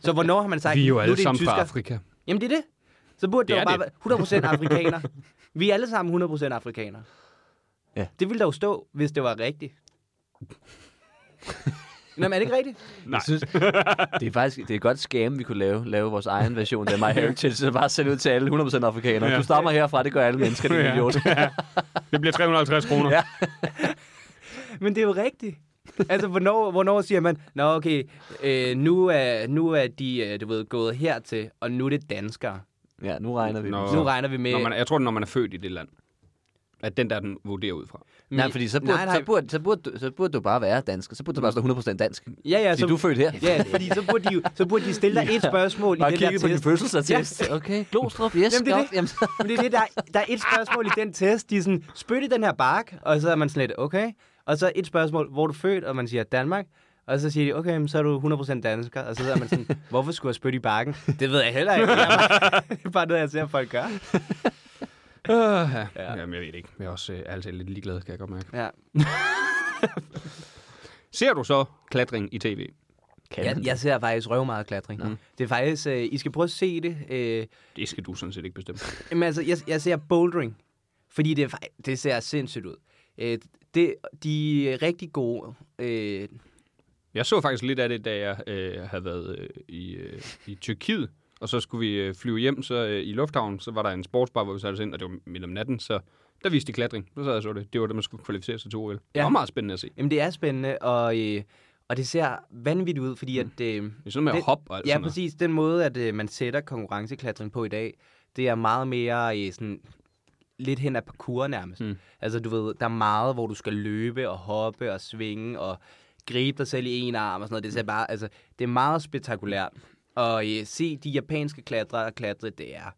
Så hvornår har man sagt,
Vi er jo
nu
alle
det en
sammen fra
tysker?
Afrika.
Jamen det er det. Så burde det,
Det
det jo
er
bare
det.
være 100% afrikaner. Vi er alle sammen 100% afrikanere.
Ja.
Det ville der jo stå, hvis det var rigtigt. Nå, men er det ikke rigtigt?
Nej.
synes, det er faktisk det er et godt scam, vi kunne lave, lave vores egen version af My Heritage, så bare sende ud til alle 100% afrikanere.
Ja.
Ja. Du stammer herfra, det gør alle mennesker, det er
Ja.
en idiot.
Det bliver 350 kroner.
Ja.
Men det er jo rigtigt. altså, hvornår, hvornår siger man, nå okay, øh, nu, er, nu er de, øh, du ved, gået hertil, og nu er det danskere.
Ja, nu regner vi.
Nå.
Nå.
Nu regner vi med...
Når man, jeg tror, når man er født i det land, at den der, den vurderer ud fra.
Mm.
Nej, fordi så burde,
Nej, nej.
Så, burde, så, burde du, så burde du bare være dansker. Så burde du bare stå 100% dansk. Fordi
ja, ja, så,
du er født her.
Ja, fordi så burde de, jo- så burde de stille dig et spørgsmål i
Bare
den der
kigge på din
test.
fødselsattest. Okay, Glostrup, yes,
Jamen, det er
godt.
det.
Jamen, så-
Men det er det, der, er- der er et spørgsmål i den test. De er sådan, spyt i den her bark, og så er man sådan lidt, okay. Og så et spørgsmål, hvor er du født, og man siger Danmark. Og så siger de, okay, men så er du 100% dansker. Og så sidder man sådan, hvorfor skulle jeg spytte i barken? Det ved jeg heller ikke. Det er bare- det er bare noget, jeg ser folk gøre.
Uh, ja. Jamen, jeg ved det ikke. Jeg er også øh, altid lidt ligeglad, kan jeg godt mærke.
Ja.
Ser du så klatring i tv?
Kan
Jeg,
man
jeg ser faktisk røv meget klatring. Det er faktisk, øh, I skal prøve at se det. Øh,
Det skal du sådan set ikke bestemme.
Jamen altså, jeg, jeg ser bouldering, fordi det, er fej- det ser sindssygt ud. Øh, det, de er rigtig gode. Øh,
Jeg så faktisk lidt af det, da jeg øh, havde været øh, i, øh, i Tyrkiet, og så skulle vi øh, flyve hjem så øh, i lufthavnen, så var der en sportsbar, hvor vi satte os ind, og det var midt om natten, så der viste de klatring. Så sad jeg og så det. Det var det, man skulle kvalificere sig til OL. Ja. Det
Ja.
var meget spændende at se.
jamen, det er spændende, og, øh, Og det ser vanvittigt ud, fordi at... Øh,
Mm. Det er sådan noget med
Det-
at hoppe og alt
ja,
sådan noget.
præcis. Den måde, at øh, man sætter konkurrenceklatring på i dag, det er meget mere øh, sådan lidt hen ad parkour nærmest.
Mm.
Mm. Altså, du ved, der er meget, hvor du skal løbe og hoppe og svinge og gribe dig selv i en arm og sådan noget. Det, ser bare, altså, det er meget spektakulært. Og øh, se de japanske klatrere klatre, det er...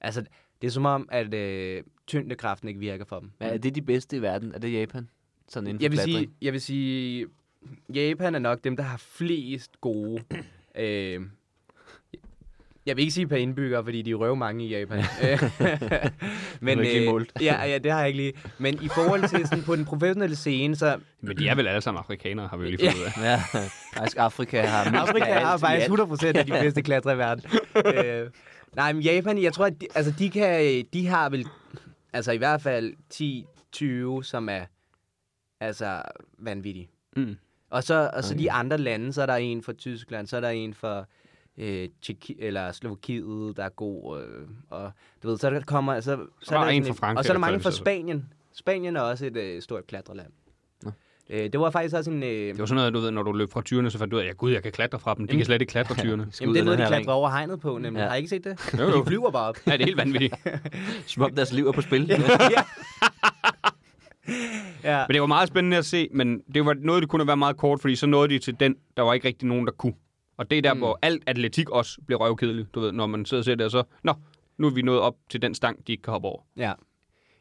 Altså, det er som om, at øh, tyngdekraften ikke virker for dem.
Men er det de bedste i verden? Er det Japan? Sådan inden for
Jeg vil,
klatring?
sige, jeg vil sige, Japan er nok dem, der har flest gode... øh, jeg vil ikke sige per indbygger, fordi de røver mange i Japan. Øh, Men, øh,
ikke lige målt.
ja, ja, det har jeg ikke lige. Men i forhold til sådan, på den professionelle scene, så
Men de er vel alle sammen afrikanere, har vi jo lige fundet ud af.
Ja, faktisk Afrika har mest af
Afrika
alt
er
i
faktisk
alt.
100% af de bedste klatre i verden. øh, nej, men Japan, jeg tror, at de, altså, de, kan, de har vel altså i hvert fald 10-20, som er altså vanvittige.
Mm.
Og så, og så okay. de andre lande, så er der en fra Tyskland, så er der en fra øh, Tjekki, eller Slovakiet, der er god. Øh, og du ved, så der kommer... Så, så,
er der
sådan
en fra Frankrig,
Og så er
der
der mange fra
kvalificerer
Spanien. Spanien er også et øh, stort klatreland.
Nå.
Øh, det var faktisk også en... Øh,
Det var sådan noget, du ved, når du løb fra tyrene, så fandt du ud af, ja gud, jeg kan klatre fra dem. De kan slet ikke klatre tyrene.
Skal
Jamen,
ud
det er
af
noget,
den her
de klatrer
ring.
over hegnet på, nemlig.
Ja.
Har I ikke set det?
Jo, jo.
De flyver bare op.
Ja, det er helt vanvittigt.
Som om deres liv er på spil.
ja.
Men det var meget spændende at se, men det var noget, det kunne være meget kort, fordi så nåede de til den, der var ikke rigtig nogen, der kunne. Og det er der, mm. hvor alt atletik også bliver røvkedeligt, du ved, når man sidder og ser det, og så, nå, nu er vi nået op til den stang, de ikke kan hoppe over.
ja.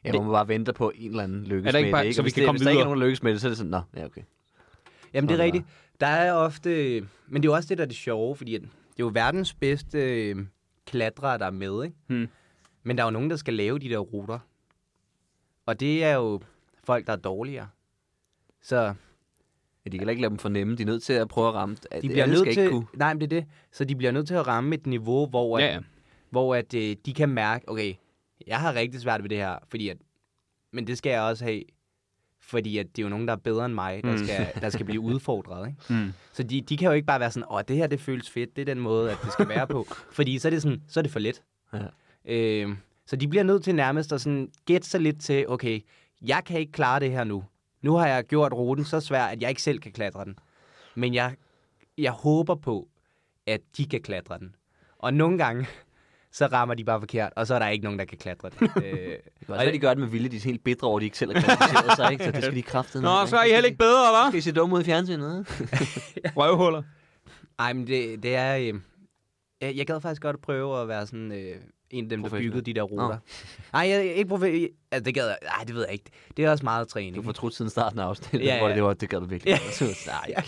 Ja, hvor man bare venter på en eller anden lykkes
Er der ikke
med
bare-
det, ikke?
så
Og
vi
hvis
kan
det,
komme
hvis der ikke er
videre?
nogen, der lykkes med det, så er det sådan, nå, ja, okay.
Jamen, det er
Sådan
rigtigt. Der er ofte... Men det er også det, der er det sjove, fordi at det er jo verdens bedste øh, klatrere, der er med, ikke?
Hmm.
Men der er jo nogen, der skal lave de der ruter. Og det er jo folk, der er dårligere. Så
Ja, de kan heller ikke lade dem fornemme. De er nødt til at prøve at ramme.
de bliver
Alle
nødt
skal
til...
Ikke kunne.
Nej, men det er det. Så de bliver nødt til at ramme et niveau, hvor, at,
Ja, ja.
hvor at, øh, de kan mærke, okay, jeg har rigtig svært ved det her, fordi at, men det skal jeg også have, fordi at det er jo nogen, der er bedre end mig, der, skal, der skal blive udfordret. Ikke?
Mm.
Så de, de kan jo ikke bare være sådan, åh, det her det føles fedt, det er den måde, at det skal være på. Fordi så er det, sådan, så er det for let.
Ja.
Øh, så de bliver nødt til nærmest at sådan gætte sig lidt til, okay, jeg kan ikke klare det her nu. Nu har jeg gjort ruten så svær, at jeg ikke selv kan klatre den. Men jeg, jeg håber på, at de kan klatre den. Og nogle gange, så rammer de bare forkert, og så er der ikke nogen, der kan klatre den. øh,
Det kan også være, de gør det med vilje. De er helt bedre over, at de ikke selv har kvalificeret sig, ikke? Så det skal de kraftedeme.
Nå,
ikke?
så er I heller ikke bedre,
Skal
hva'?
I se dumme ud i fjernsynet? ikke?
Røvhuller.
Ej, men det, det er... Øh, jeg, jeg gad faktisk godt at prøve at være sådan øh, en af dem, der
Professionel.
byggede de der ruter. Nej, jeg, jeg- ikke profe... Altså, det gad jeg... Ej, det ved jeg ikke. Det er også meget træning.
Du har fortrudt siden starten af afsnittet,
Ja,
ja,
ja.
ja. hvor det var, det gør du virkelig. Ja. Nej,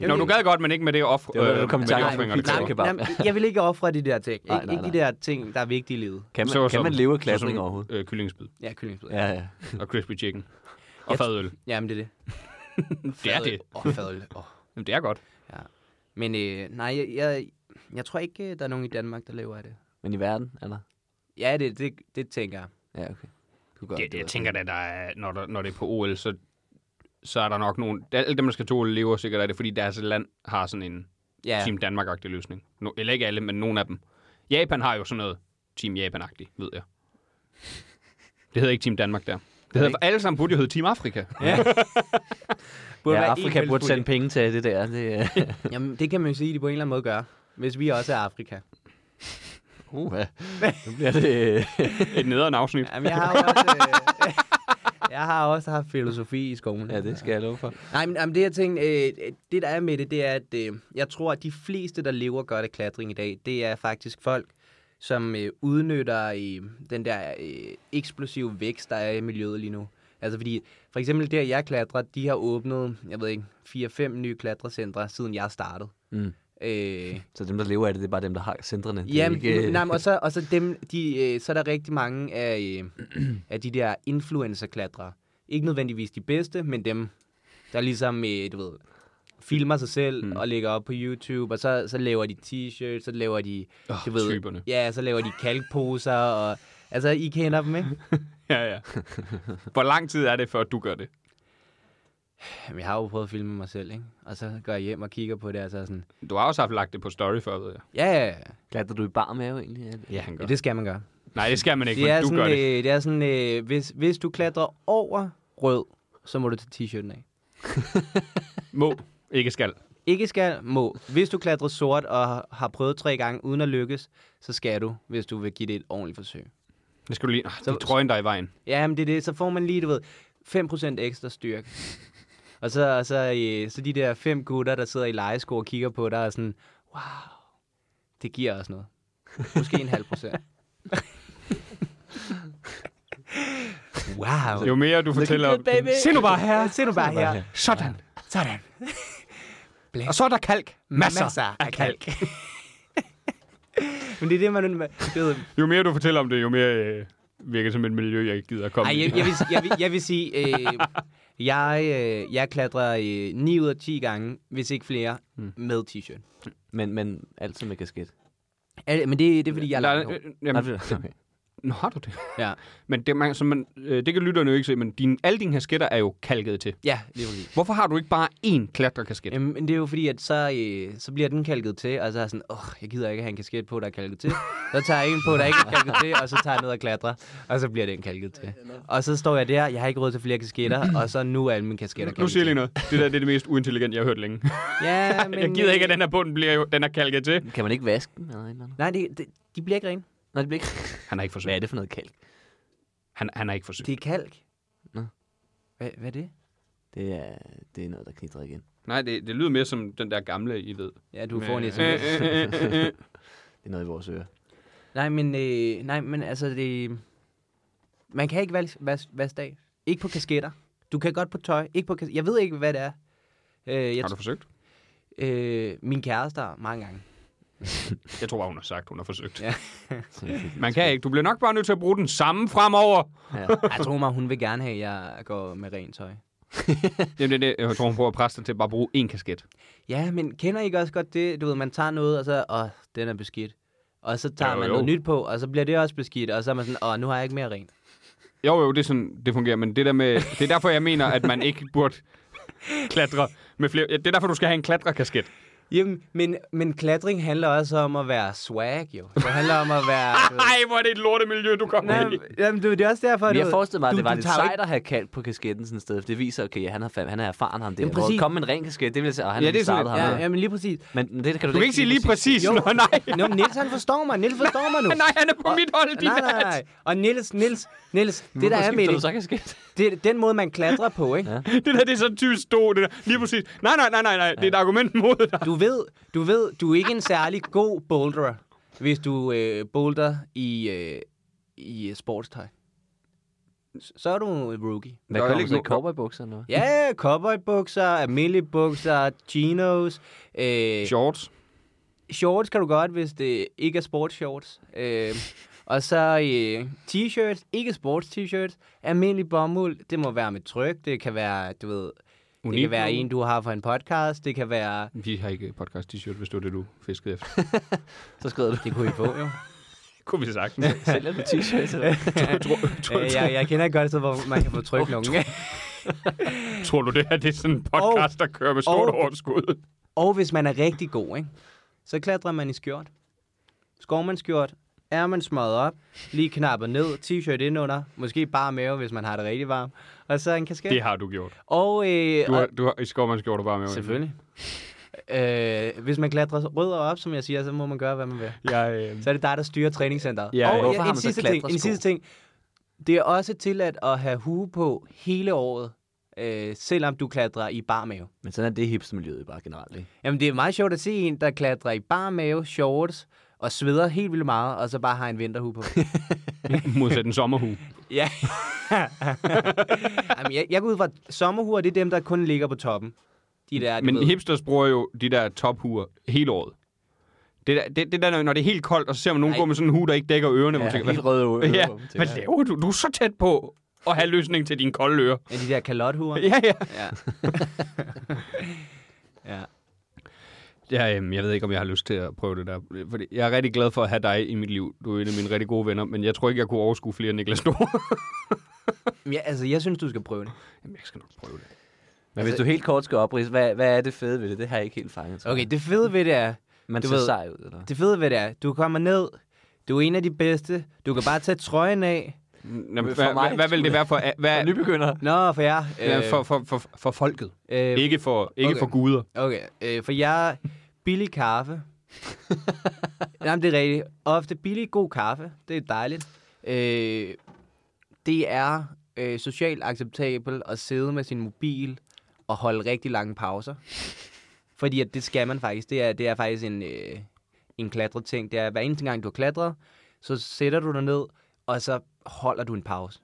jeg
Nå, du gad godt, men ikke med det offer.
Det var, da du kom i
med
tanke
de
om
offringer,
pizza.
det
nej,
kræver.
kebab.
nej, men jeg vil ikke ofre de der ting.
Nej,
Ikke-
nej,
ikke de der ting, der er vigtige i livet.
kan, man,
Så-
kan
så-
man leve af
så-
klatring
så-
overhovedet?
Øh, kyllingsbid
Ja, kyllingspid. Ja.
Ja, ja.
og crispy chicken. Og
Jeg-
fadøl.
Jamen, det er det.
Det er det.
Åh, oh, fadøl. Oh.
Jamen, det er godt.
Men øh, nej, jeg, jeg, jeg tror ikke, øh, der er nogen i Danmark, der lever af det.
Men i verden, eller?
Ja, det, det, det tænker jeg.
Ja, okay. Du gør,
Det, jeg tænker da, der er, når, der, når det er på OL, så, så er der nok nogen... Alle dem, der skal til OL, lever sikkert af det, fordi deres land har sådan en
Ja,
ja. Team Danmark-agtig løsning. No, eller ikke alle, men nogle af dem. Japan har jo sådan noget Team Japan-agtigt, ved jeg. Det hedder ikke Team Danmark der. Det hedder, alle sammen burde jo hedde Team Afrika.
burde
Ja,
være
Afrika
en
burde sende
fællespulje.
penge til det der. Det, øh,
Jamen, det kan man jo sige, de på en eller anden måde gør. Hvis vi også er Afrika.
uh, nu bliver det... øh,
Et nederen afsnit.
Jamen, jeg har jo også, øh, jeg har også haft filosofi i skolen.
ja, det skal jeg love for.
Nej, men jamen, det jeg tænkte, øh, det der er med det, det er, at øh, jeg tror, at de fleste, der lever godt af klatring i dag, det er faktisk folk, som øh, udnytter øh, den der øh, eksplosive vækst, der er i miljøet lige nu. Altså fordi, for eksempel der, jeg klatrer, de har åbnet, jeg ved ikke, 4-5 nye klatrecentre, siden jeg startede.
Mm.
Øh,
Så dem, der lever af det, det er bare dem, der har centrene. Det er
Jamen,
ikke,
ikke...
øh,
nej, men og så, og så, dem, de, øh, så er der rigtig mange af, øh, af de der influencer-klatrere. Ikke nødvendigvis de bedste, men dem, der ligesom, øh, du ved, filmer sig selv
Hmm.
mm. og lægger op på YouTube, og så, så laver de t-shirts, så laver de,
Åh,
du ved,
typerne.
ja, så laver de kalkposer, og altså, I kender dem, ikke?
Ja, ja. Hvor lang tid er det, før du gør det?
Jamen, jeg har jo prøvet at filme mig selv, ikke? Og så går jeg hjem og kigger på det, og så er jeg sådan,
Du har også haft lagt det på story før, ved jeg.
ja, ja, ja,
Klatrer du i bar mave egentlig? Er det-
Ja, han gør.
ja, det skal man gøre.
Nej, det skal man ikke,
Det er,
men du
sådan,
gør
øh,
det.
det er sådan, øh, hvis, hvis du klatrer over rød, så må du tage t-shirten af.
Må, ikke skal.
Ikke skal, må. Hvis du klatrer sort og har prøvet tre gange uden at lykkes, så skal du, hvis du vil give det et ordentligt forsøg.
Det skal du lige... Ah, det
Så-
er trøjen, der er i vejen.
Ja, men det er det. Så får man lige, du ved, 5% ekstra styrke. Og så, og så, øh, så de der fem gutter, der sidder i lejesko og kigger på dig og sådan, wow, det giver os noget. Måske en halv procent. wow.
Jo mere du fortæller om... Se nu bare her.
Se nu bare her.
Sådan. Sådan.
Blæk.
Og så er der kalk. Masser,
Masser
af
af
kalk.
Men det er det, man... man det ved,
Jo mere du fortæller om det, jo mere øh, virker det som et miljø, jeg ikke gider at komme
Ej,
i.
jeg, jeg, vil, jeg, vil, jeg vil sige, øh, jeg, øh, jeg klatrer øh, 9 ud af 10 gange, hvis ikke flere, mm. med t-shirt.
Men, men altid med kasket.
Er- Men det, det er, fordi jeg er
Nej,
langt hår.
øh, jamen,
Okay.
Nå, har du det?
Ja.
Men det, man, så man, øh, det kan lytterne jo ikke se, men din, alle dine kasketter er jo kalket til.
Ja, lige præcis.
Hvorfor har du ikke bare én klatrekasket?
Jamen, Øhm, men det er jo fordi, at så, øh, så bliver den kalket til, og så er jeg sådan, åh, jeg gider ikke have en kasket på, der er kalket til. Så tager jeg en på, der ikke er kalket til, og så tager jeg ned og klatrer, og så bliver den kalket til. Og så står jeg der, jeg har ikke råd til flere kasketter, og så nu er alle mine kasketter
Nu
kalket
siger jeg lige
til.
noget. Det der det er det mest uintelligente, jeg har hørt længe.
Ja, men,
jeg gider
øh,
ikke, at den her bund bliver jo, den er kalket til.
Kan man ikke vaske dem eller et eller andet?
Nej, det, det, de bliver ikke rene.
Nej, det bliver ikke.
Han har ikke forsøgt.
Hvad er det for noget kalk?
Han, han har ikke forsøgt.
Det er kalk.
Nå.
Hvad, hvad er det?
Det er, det er noget, der knitrer igen.
Nej, det, det lyder mere som den der gamle, I ved.
Ja, du får en
Med-
sms.
Øh, øh, øh, øh, øh.
Det er noget i vores ører.
Nej, men, øh, nej, men altså, det, man kan ikke vaske vas, vas dag. Ikke på kasketter. Du kan godt på tøj. Ikke på kasketter. Jeg ved ikke, hvad det er. Øh, jeg,
Har du forsøgt?
øh, min kæreste har mange gange.
Jeg tror bare, hun har sagt, hun har forsøgt.
Ja.
Man kan ikke. Du bliver nok bare nødt til at bruge den samme fremover.
Ja.
Jeg tror mig, hun vil gerne have, at jeg går med rent tøj.
Jamen, det, er det, jeg tror, hun prøver at presse dig til at bare bruge én kasket.
Ja, men kender I ikke også godt det? Du ved, man tager noget, og så, åh, den er beskidt. Og så tager
Jo,
jo, man
jo.
noget nyt på, og så bliver det også beskidt, og så er man sådan, åh, nu har jeg ikke mere rent.
Jo, jo, det er sådan, det fungerer, men det der med, det er derfor, jeg mener, at man ikke burde klatre med flere. Ja, det er derfor, du skal have en klatrekasket.
Jamen, men, men klatring handler også om at være swag, jo. Det handler om at være... du ved-
Ah, Ej, hvor er det et lortemiljø, du kommer
Nej,
i.
jamen, du, det er også derfor,
Men
du
jeg
ved,
forestillede mig, at
du-
det var
du
lidt
tager jo
sejt at have kalk på kasketten sådan et sted. for Det viser, okay, han er, fam, han er erfaren ham der.
Jamen,
Hvor
præcis.
kom en ren kasket, det vil jeg sige, og han
Ja,
ja,
det
det
er sådan
startet ham
Ikke,
ja,
ja, ja, men lige præcis.
Men det kan
Du
du,
kan ikke sige lige præcis.
Jo.
Nå, nej.
Nå, men Niels, han forstår mig. Niels forstår mig nu.
Nej, han er på mit hold, din
Nej, nej, nej. Og Niels, Niels, Niels, det der er med
det.
det,
Så kasket.
det er den måde, man klatrer på, ikke?
Det der, det er så typisk stå, det der. Lige præcis. Nej, nej, nej, nej, nej. Det er et argument mod dig.
Du ved, du ved, du er ikke en særlig god boulderer, hvis du øh, boulder i, øh, i øh, sportstøj. S- Så er du en rookie.
Hvad
Der er
kommer
ikke
så i
nogen-
cowboybukser nu?
Ja, cowboybukser, almindelige bukser, chinos, øh,
Shorts.
shorts kan du godt, hvis det ikke er sportsshorts. Øh, og så øh, t-shirts, ikke sports t-shirts, almindelig bomuld, det må være med tryk, det kan være, du ved, Unik, det
Unik
kan være
bomuld.
en, du har for en podcast, det kan være,
Vi har ikke podcast-t-shirt, hvis det var det, du fiskede efter.
Så skriver du,
det kunne I få jo.
Kunne vi sagtens.
sælger du t-shirts? eller hvad?
øh, jeg, jeg kender et godt sted, hvor man kan få tryk nogen.
Tror du, det her det er sådan en podcast, der kører med stort
og-
overskud?
og hvis man er rigtig god, ikke? så klatrer man i skjort. Skovmandskjort, er man smadret op, lige knappet ned, t-shirt indenunder, måske bare mave, hvis man har det rigtig varmt, og så en kasket.
Det har du gjort.
Og, øh,
Du
og-
har, du har, I skovmands gjorde du bare med.
Selvfølgelig. Øh, hvis man klatrer rødder op, som jeg siger, så må man gøre, hvad man vil.
Jeg, øh,
Så er det dig, der styrer træningscenteret.
Ja, ja.
og
Hvorfor har
en,
man så
sidste ting, en
klatresko?
sidste ting. Det er også tilladt at have hue på hele året, øh, selvom du klatrer i barmave.
Men sådan er det hipstermiljøet bare generelt, ikke?
Jamen, det er meget sjovt at se en, der klatrer i barmave, shorts, og sveder helt vildt meget, og så bare har en vinterhue på.
modsat en sommerhue.
ja. Jamen, jeg, jeg går ud fra, at sommerhuer, det er dem, der kun ligger på toppen. De der, du
Men
ved.
hipsters bruger jo de der tophuer hele året. Det der, det, det der, når det er helt koldt, og så ser man nogen
Ej.
gå med sådan en hue, der ikke dækker ørerne. hvor man tænker,
Ja, helt
hvad,
røde ører.
ja,
på dem, tænker
hvad
jeg.
laver du? Du er så tæt på at have løsning til dine kolde ører.
Ja, de der kalothuer.
Ja, ja.
Ja. ja.
Ja, øhm, jeg ved ikke, om jeg har lyst til at prøve det der. Fordi jeg er rigtig glad for at have dig i mit liv. Du er en af mine rigtig gode venner, men jeg tror ikke, jeg kunne overskue flere Niklas Nord.
ja. altså, jeg synes, du skal prøve det.
Jamen, jeg skal nok prøve det.
Men hvis du helt kort skal oprise, hvad, hvad er det fede ved det? Det har jeg ikke helt fanget. tror jeg.
Okay, det fede ved det er,
Man
du
ser
ved-
sej ud, eller?
det fede ved det er, du kommer ned, du er en af de bedste, du kan bare tage trøjen af,
Nå,
Men
men
for
hvad,
mig
hvad, hvad vil det
skulle
være for... Hvad,
For nybegynder.
Nå, for jer.
øh, for, for, for, for folket.
øh,
Ikke for, ikke
okay.
for guder.
Okay, øh, for jeg billig kaffe. Jamen, det er rigtigt. Ofte billig, god kaffe. Det er dejligt. Øh, det er øh, socialt acceptabelt at sidde med sin mobil og holde rigtig lange pauser. Fordi at det skal man faktisk. Det er, det er faktisk en, øh, en klatreting. Det er, hver eneste gang, du har klatret, så sætter du dig ned, og så holder du en pause.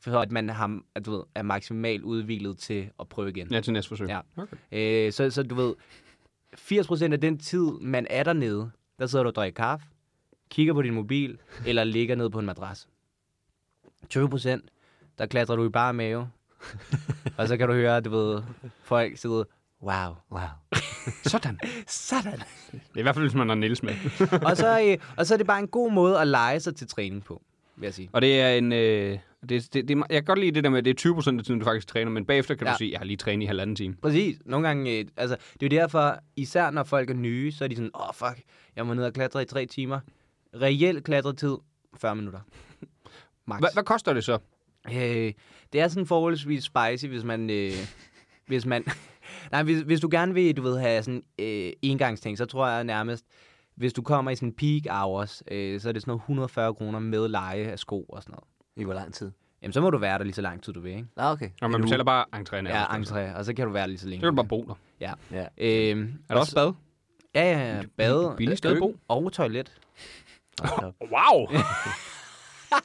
For at man har, at du ved, er maksimalt udviklet til at prøve igen.
Ja, til næste forsøg.
Ja.
Okay.
Øh, så, så du ved, 80% af den tid, man er dernede, der sidder du og drikker kaffe, kigger på din mobil, eller ligger ned på en madras. 20%, der klatrer du i bare mave, og så kan du høre, du ved, folk sidde, wow, wow.
Sådan.
Sådan.
Det er i hvert fald, hvis man har Niels med.
og, så, øh, og så er det bare en god måde at lege sig til træning på, vil jeg sige.
Og det er en... Øh, det, det, det, er me- jeg kan godt lide det der med, at det er 20 procent af tiden, du faktisk træner, men bagefter kan ja.
Ja.
du sige, jeg har lige trænet i halvanden time.
Præcis. Nogle gange, øh, altså, det er jo derfor, især når folk er nye, så er de sådan, åh oh, fuck, jeg må ned og klatre i tre timer. Reelt klatretid, 40 minutter. Max.
Hva, hvad koster det så?
Øh, det er sådan forholdsvis spicy, hvis man... Øh, hvis man nej, hvis, hvis du gerne vil du ved, have sådan øh, engangsting, så tror jeg nærmest, hvis du kommer i sådan peak hours, øh, så er det sådan noget 140 kroner med leje af sko og sådan noget.
I hvor lang tid?
Jamen, så må du være der lige så lang tid, du vil, ikke?
Nå, okay.
Når man
En uge.
betaler bare entréen.
Ja,
entréen.
entré, og så kan du være der lige så længe.
Så kan du bare bo der.
Ja.
Ja.
Øhm,
Er der også bad?
Ja, ja, ja. Bade.
billigt sted at
køkken Og toilet.
Wow!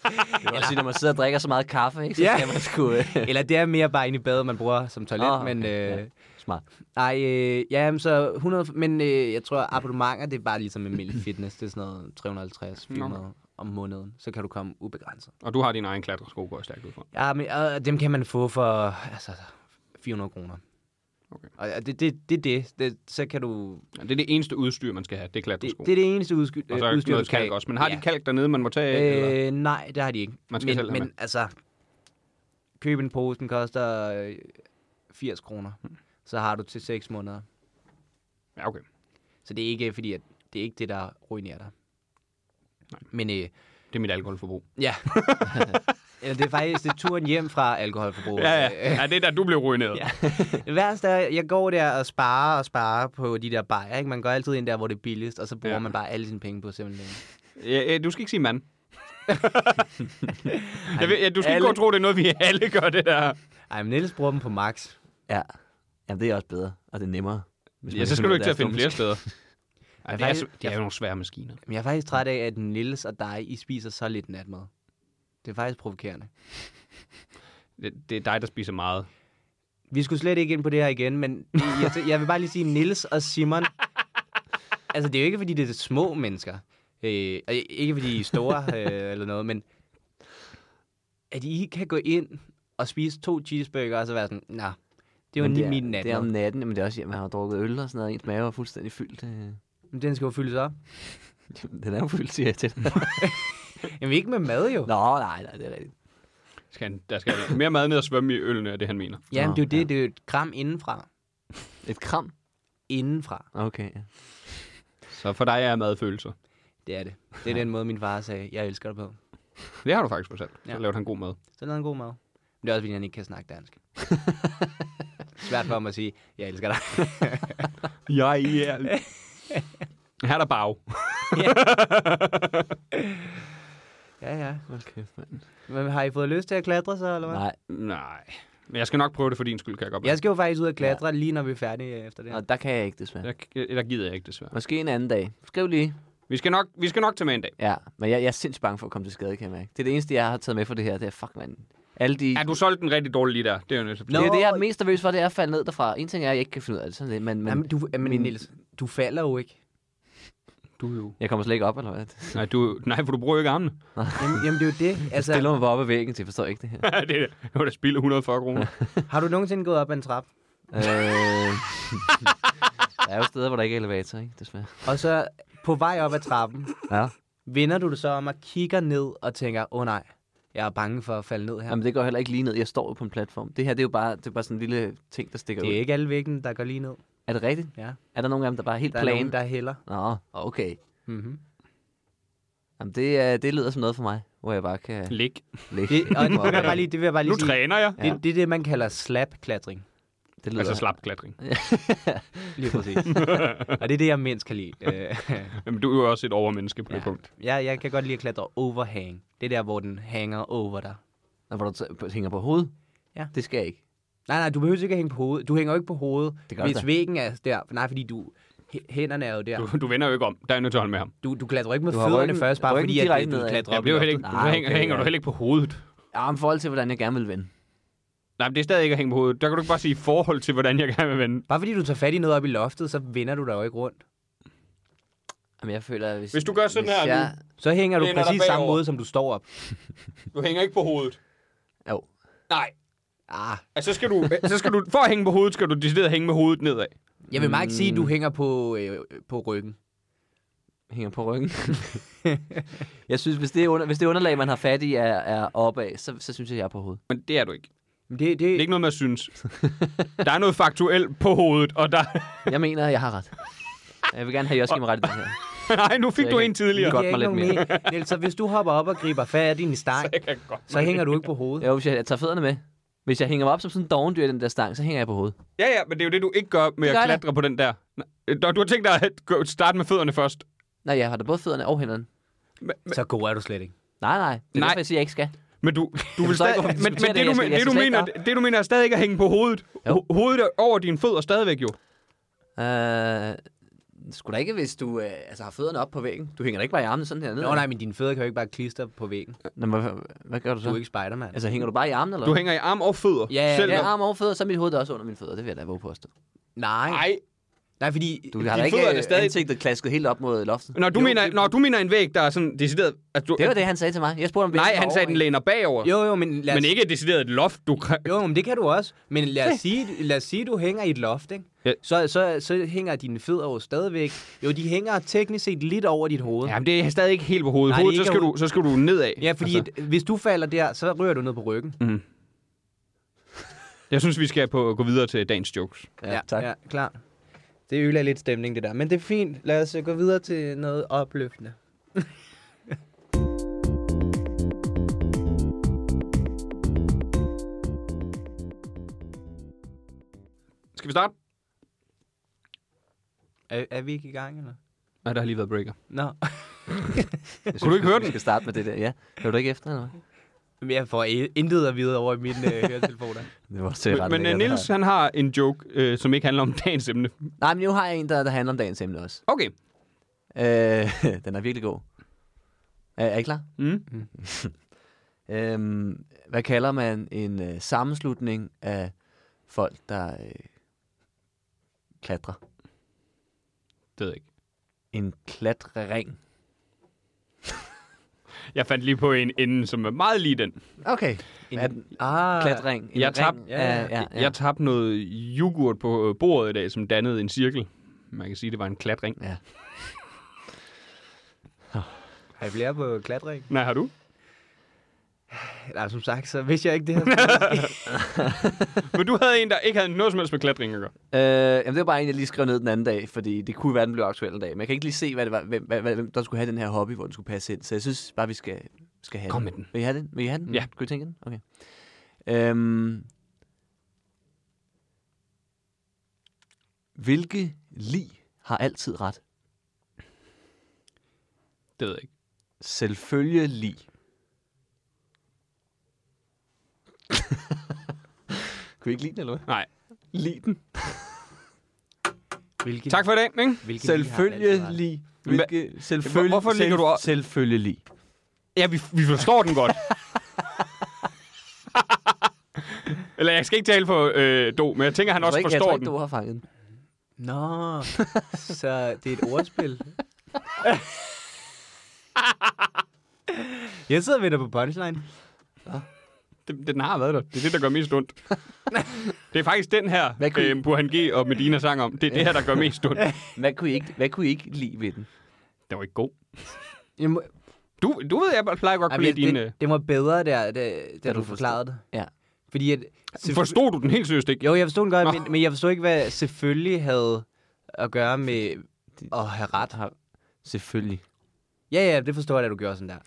Det vil også sige, når man sidder og drikker så meget kaffe, ikke, så
Ja.
skal man sgu... øh,
Eller det er mere bare inde i badet, man bruger som toilet,
Ah,
men...
okay,
Øh,
ja. Smart.
Nej, øh, ja, jamen, så 100, men øh, jeg tror, abonnementer, det er bare ligesom almindelig fitness. Det er sådan noget 350 400 om måneden, så kan du komme ubegrænset.
Og du har din egen klatresko, går jeg stærkt ud fra.
Ja, men øh, dem kan man få for altså, 400 kroner.
Okay.
Og ja, det, det, det, er det, det, så kan du...
Ja, det er det eneste udstyr, man skal have. Det er
Det,
klatresko.
det er det eneste udsky,
og så er der
udstyr,
noget kalk også. Men har de kalk dernede, man må tage af? Øh, eller?
Øh, nej, det har de ikke.
Man skal
men,
selv have
Men altså, køb en pose, den koster øh, 80 kroner.
Hmm.
Så har du til 6 måneder.
Ja, okay.
Så det er ikke fordi, at det er ikke det, der ruinerer dig. Nej. Men øh,
Det er mit alkoholforbrug.
ja. Eller det er faktisk det er turen hjem fra alkoholforbrug.
Ja, ja. ja det er der, du blev ruineret. Ja.
Det værste er, jeg går der og sparer og sparer på de der bajer. Ikke? Man går altid ind der, hvor det er billigst, og så bruger
Ja.
ja. man bare alle sine penge på simpelthen.
Ja, du skal ikke sige mand. jeg ved, ja, du skal alle... ikke gå og tro, det er noget, vi alle gør, det der.
Ej, men Niels bruger dem på max.
Ja. Jamen, det er også bedre, og det er nemmere. hvis
Ja,
man
så skal
kan finde
du
ud
ikke til
af
at finde flere
deres
steder. Ej, det, er,
faktisk-
så- det er jo nogle svære maskiner.
Men jeg er faktisk træt af, at Niels og dig, I spiser så lidt natmad. Det er faktisk provokerende.
Det, det er dig, der spiser meget.
Vi skulle slet ikke ind på det her igen, men jeg, jeg vil bare lige sige, Nils og Simon... Altså, det er jo ikke, fordi det er små mennesker. Øh, og ikke, fordi I er store øh, eller noget, men... At I kan gå ind og spise to cheeseburger, og så være sådan, nej, det var
Men
lige
er-
min
Det er om
nat.
natten, men det er også, at man har drukket øl og sådan noget, ens mave er fuldstændig fyldt. øh.
Men den skal jo fyldes op.
Den er jo fyldt, siger jeg til dig.
Jamen, ikke med mad jo.
Nå, nej, nej, det er rigtigt.
Skal, han- der skal mere mad ned og svømme i ølene, er det, han mener.
Ja, men det er jo det,
ja.
det er jo et kram indenfra.
Et kram?
Indenfra,
Okay, ja.
Så for dig er madfølelser.
det er det. Det er den måde, min far sagde, jeg elsker dig på.
Det har du faktisk fortalt. Så
Ja.
lavede han god mad.
Så lavede han god mad. Men det er også, fordi han ikke kan snakke dansk. Svært for ham at sige, jeg elsker dig.
Ja, ja. Her er der bag.
Ja, ja.
Hold kæft, mand.
Men har I fået lyst til at klatre så, eller hvad?
Nej,
Nej. Men jeg skal nok prøve det for din skyld, kan jeg godt
Jeg skal jo faktisk ud og klatre, ja. lige når vi er færdige øh, efter det her.
og der kan jeg ikke, desværre.
Jeg, jeg, der gider jeg ikke, desværre.
Måske en anden dag. Skriv lige.
Vi skal nok, vi skal nok til med en dag.
Ja, men jeg, jeg er sindssygt bange for at komme til skade, kan jeg mærke. Det er det eneste, jeg har taget med for det her. Det er, fuck, mand. Alle de...
Ja, du solgte den rigtig dårligt lige der. Det er jo nødt til.
Det er jo det, jeg er
Nå.
mest nervøs for, det er at falde ned derfra. En ting er, at jeg ikke kan finde ud af det, sådan det, men, men
Jamen, du, men
min-
Niels, du falder jo ikke.
Du jo.
jeg kommer slet ikke op, eller hvad?
Altså-
Det
Nej, du, nej, for du bruger jo ikke armene.
Jamen, jamen det er jo det. Altså,
stiller mig bare op ad væggen til, jeg forstår ikke det her.
det er det var da spildt 140 kroner.
har du nogensinde gået op ad en trap,
øh... der er jo steder, hvor der ikke er elevator, ikke? Desværre.
og så på vej op ad trappen,
Ja.
vender du dig så om og kigger ned og tænker, åh oh, nej, jeg er bange for at falde ned her.
Jamen, det går heller ikke lige ned. Jeg står jo på en platform. Det her, det er jo bare, det er bare sådan en lille ting, der stikker
det er
ud.
ikke alle væggene, der går lige ned.
Er det rigtigt?
Ja.
Er der nogen af dem, der bare er helt
Der er
plan?
nogen, der hælder.
Nå, okay.
Mm-hmm.
Jamen, det, øh, det lyder som noget for mig. hvor jeg bare kan
Lig.
ligge.
Det, og det vil jeg bare lige, det vil jeg bare lige
Nu
sige.
træner jeg.
Det, det er det, man kalder slap-klatring.
det lyder,
Altså slapklatring.
Lige præcis. og det er det, jeg mindst kan lide. Øh,
Jamen, du er jo også et overmenneske på det
Ja.
punkt.
jeg, jeg kan godt lide at klatre overhang. Det er der, hvor den hænger over dig.
Nå, hvor du t- hænger på hovedet.
Ja.
Det skal jeg ikke.
Nej, nej, du behøver ikke at hænge på hovedet. Du hænger jo ikke på hovedet,
Det gør
hvis
det.
væggen er der. Nej, fordi du... hæ- Hænderne er jo der.
Du, du vender jo ikke om. Der er jeg nødt til at holde med ham.
Du, du klatrer ikke med
Du har
fødderne
ryggen-
først, bare
ryggen
fordi at,
direkte
øh, du
nedad.
klatrer
Jeg
op
bliver
i
jo heller ikke,
loftet.
du
Nej,
hænger,
okay,
hænger
ja.
du heller ikke på hovedet.
Ja, men i forhold til, hvordan jeg gerne vil vende.
Nej, men det er stadig ikke at hænge på hovedet. Der kan du ikke bare sige i forhold til, hvordan jeg gerne vil vende.
Bare fordi du tager fat i noget op i loftet, så vender du dig jo ikke rundt.
Jamen, jeg føler, at hvis,
Hvis du gør sådan
hvis
her nu-
jeg...
Så hænger du
Læner dig
præcis samme
bagover.
måde, som du står op.
Du hænger ikke på hovedet.
Jo.
Nej.
Ah,
Altså, så skal du, så skal du, for at hænge på hovedet, skal du decideret hænge med hovedet nedad.
jeg vil meget ikke sige, at
Mm.
du hænger på, øh, på ryggen.
hænger på ryggen. jeg synes, hvis det, under, hvis det underlag, man har fat i, er, er opad, så, så synes jeg, jeg er på hovedet.
Men det er du ikke.
Men det,
Det er
det,
ikke noget med at synes. Der er noget faktuelt på hovedet, og der...
Jeg mener, jeg har ret. Jeg vil gerne have Joske med ret i det her.
Nej, nu fik
Så
du
jeg
en
kan-
tidligere.
godt
giver
mig
ikke
lidt
nogen mening. Niels, så hvis du hopper op og griber fat i en stang,
Jeg kan godt.
så hænger du ikke på hovedet.
Jo, hvis jeg, jeg tager fødderne med. Hvis jeg hænger mig op som sådan en dovendyr i den der stang, så hænger jeg på hovedet.
Ja, ja, men det er jo det, du ikke gør med
gør
at
jeg da.
klatre på den der. Nå, Du har tænkt dig at gå- starte med fødderne først.
Nej, jeg har da både fødderne og hænderne.
Men, men,
Så god er du slet ikke.
Nej, nej. Det er
Nej.
derfor, jeg siger, jeg ikke skal.
men du, du vil
forstår
stadig,
ikke, hvorfor vi
men, men det,
diskuterer det.
du,
Jeg skal-
men-
jeg
det, du
skal slet
mener,
ikke
det, du mener er stadig ikke at hænge på hovedet.
Jo.
Ho- Hovedet er over dine fødder stadigvæk jo.
Øh, skulle da ikke, hvis du øh, altså, har fødderne op på væggen? Du hænger da ikke bare i armene sådan her ned.
Nå nej, men dine fødder kan jo ikke bare klistre på væggen.
Nå, men hvad, hvad gør du så?
Du er ikke Spider-Man.
Altså, hænger du bare i armene, eller
Du hænger i arm og fødder.
Ja, ja,
selv
Ja,
når-
arm over fødder, så er mit hoved da også under mine fødder. Det vil jeg da våge påstå.
Nej.
Nej.
Nej, fordi...
Du har da
Dine
ikke
fødder er
øh,
da stadig-
ansigtet klasket helt op mod loftet.
Når du,
Jo,
mener,
det-
når du mener en væg, der er sådan decideret... At du,
Det var det, han sagde til mig. Jeg spurgte om
Nej,
vægten
han
var
sagde,
over,
den læner bagover.
Jo, jo, men lad os...
Men ikke decideret et loft, du... kra-
Jo, men det kan du også. Men lad os sige, lad os sige du hænger i et loft, ikke?
Ja.
Så, så, så hænger dine fødder jo stadigvæk... Jo, de hænger teknisk set lidt over dit hoved.
Jamen, det er stadig ikke helt på hovedet.
Nej, det er
hovedet så,
ikke
skal
hoved-
du, så skal du nedad.
Ja, fordi altså. et, hvis du falder der, så rører du ned på ryggen. Mm.
Jeg synes, vi skal på, gå videre til dagens jokes.
Ja, tak.
Ja, klar. Det øler lidt stemning, det der. Men det er fint. Lad os øh, gå videre til noget opløftende.
Skal vi starte?
Er, er vi ikke i gang, eller?
Nej, der har lige været breaker.
Nå,
Jeg
Kunne du ikke høre
Vi
den?
skal starte med det der, ja. Hører du ikke efter, eller hvad?
Men jeg får i- intet at vide over i mine øh, høretelefoner.
Det var også ret
Men, men
lækkert,
Nils,
det her.
han har en joke, øh, som ikke handler om dagens emne.
Nej, men nu har jeg en, der, der handler om dagens emne også.
Okay.
Øh, den er virkelig god. Er, er I klar?
Mm.
Øhm, hvad kalder man en øh, sammenslutning af folk, der øh, klatrer?
Det ved jeg ikke.
En klatrering.
Jeg fandt lige på en inden, som er meget lige den.
Okay. En
En- Ah,
klatring. En
Jeg
ring
tabte-
af-
Ja, ja.
ja, ja.
Jeg tabte noget yoghurt på øh, bordet i dag, som dannede en cirkel. Man kan sige, det var en klatring.
ja.
Har I flere på klatring?
Nej, har du?
Nej, som sagt, så vidste jeg ikke det her.
Men du havde en, der ikke havde noget som helst med klatring at gøre.
Øh, jamen det var bare en, jeg lige skrev ned den anden dag, fordi det kunne være, den blev aktuel en dag. Men jeg kan ikke lige se, hvad det var, hvem, hvad, hvad- hvem der skulle have den her hobby, hvor den skulle passe ind. Så jeg synes bare, vi skal, skal have
Kom
den.
med den.
Vil I have den? Vil I have den?
Ja.
Skal vi tænke den? Okay. Øhm, hvilke lig har altid ret?
Det ved jeg ikke.
Selvfølgelig. Kunne I ikke lide den, eller hvad?
Nej.
Lide den.
Hvilke,
Tak for i dag, ikke?
hvilke liv har altid ret?
Selvfølgelig. Hvilke, selvfølgelig
Hvorfor ligger du op-
Selvfølgelig.
Ja, vi, vi forstår den godt. Eller jeg skal ikke tale for øh, Do, men jeg tænker, han
Jeg
også
tror ikke, jeg
forstår
tror
den.
ikke, du har fanget den.
Nå, så det er et ordspil. jeg sidder ved dig på punchline.
Den, den har været der. Det er det, der gør mest ondt. det er faktisk den her,
Hvad kunne I-
øh, Burhan G. og Medina sang om. Det er det her, der gør mest ondt.
Hvad kunne I ikke, hvad kunne I ikke lide ved den?
Den var ikke god.
Jeg må,
Du, du ved, jeg plejer godt at kunne
Jamen,
lide
jeg,
dine... øh,
det, det var bedre, der, da, da
du
du forklarede det.
Ja.
Fordi at,
Forstod du den helt seriøst ikke?
Jo, jeg forstod den godt,
Nå.
men, men jeg forstod ikke, hvad selvfølgelig havde at gøre med at have ret.
Har, selvfølgelig.
Ja, ja, det forstår jeg, at du gjorde sådan der.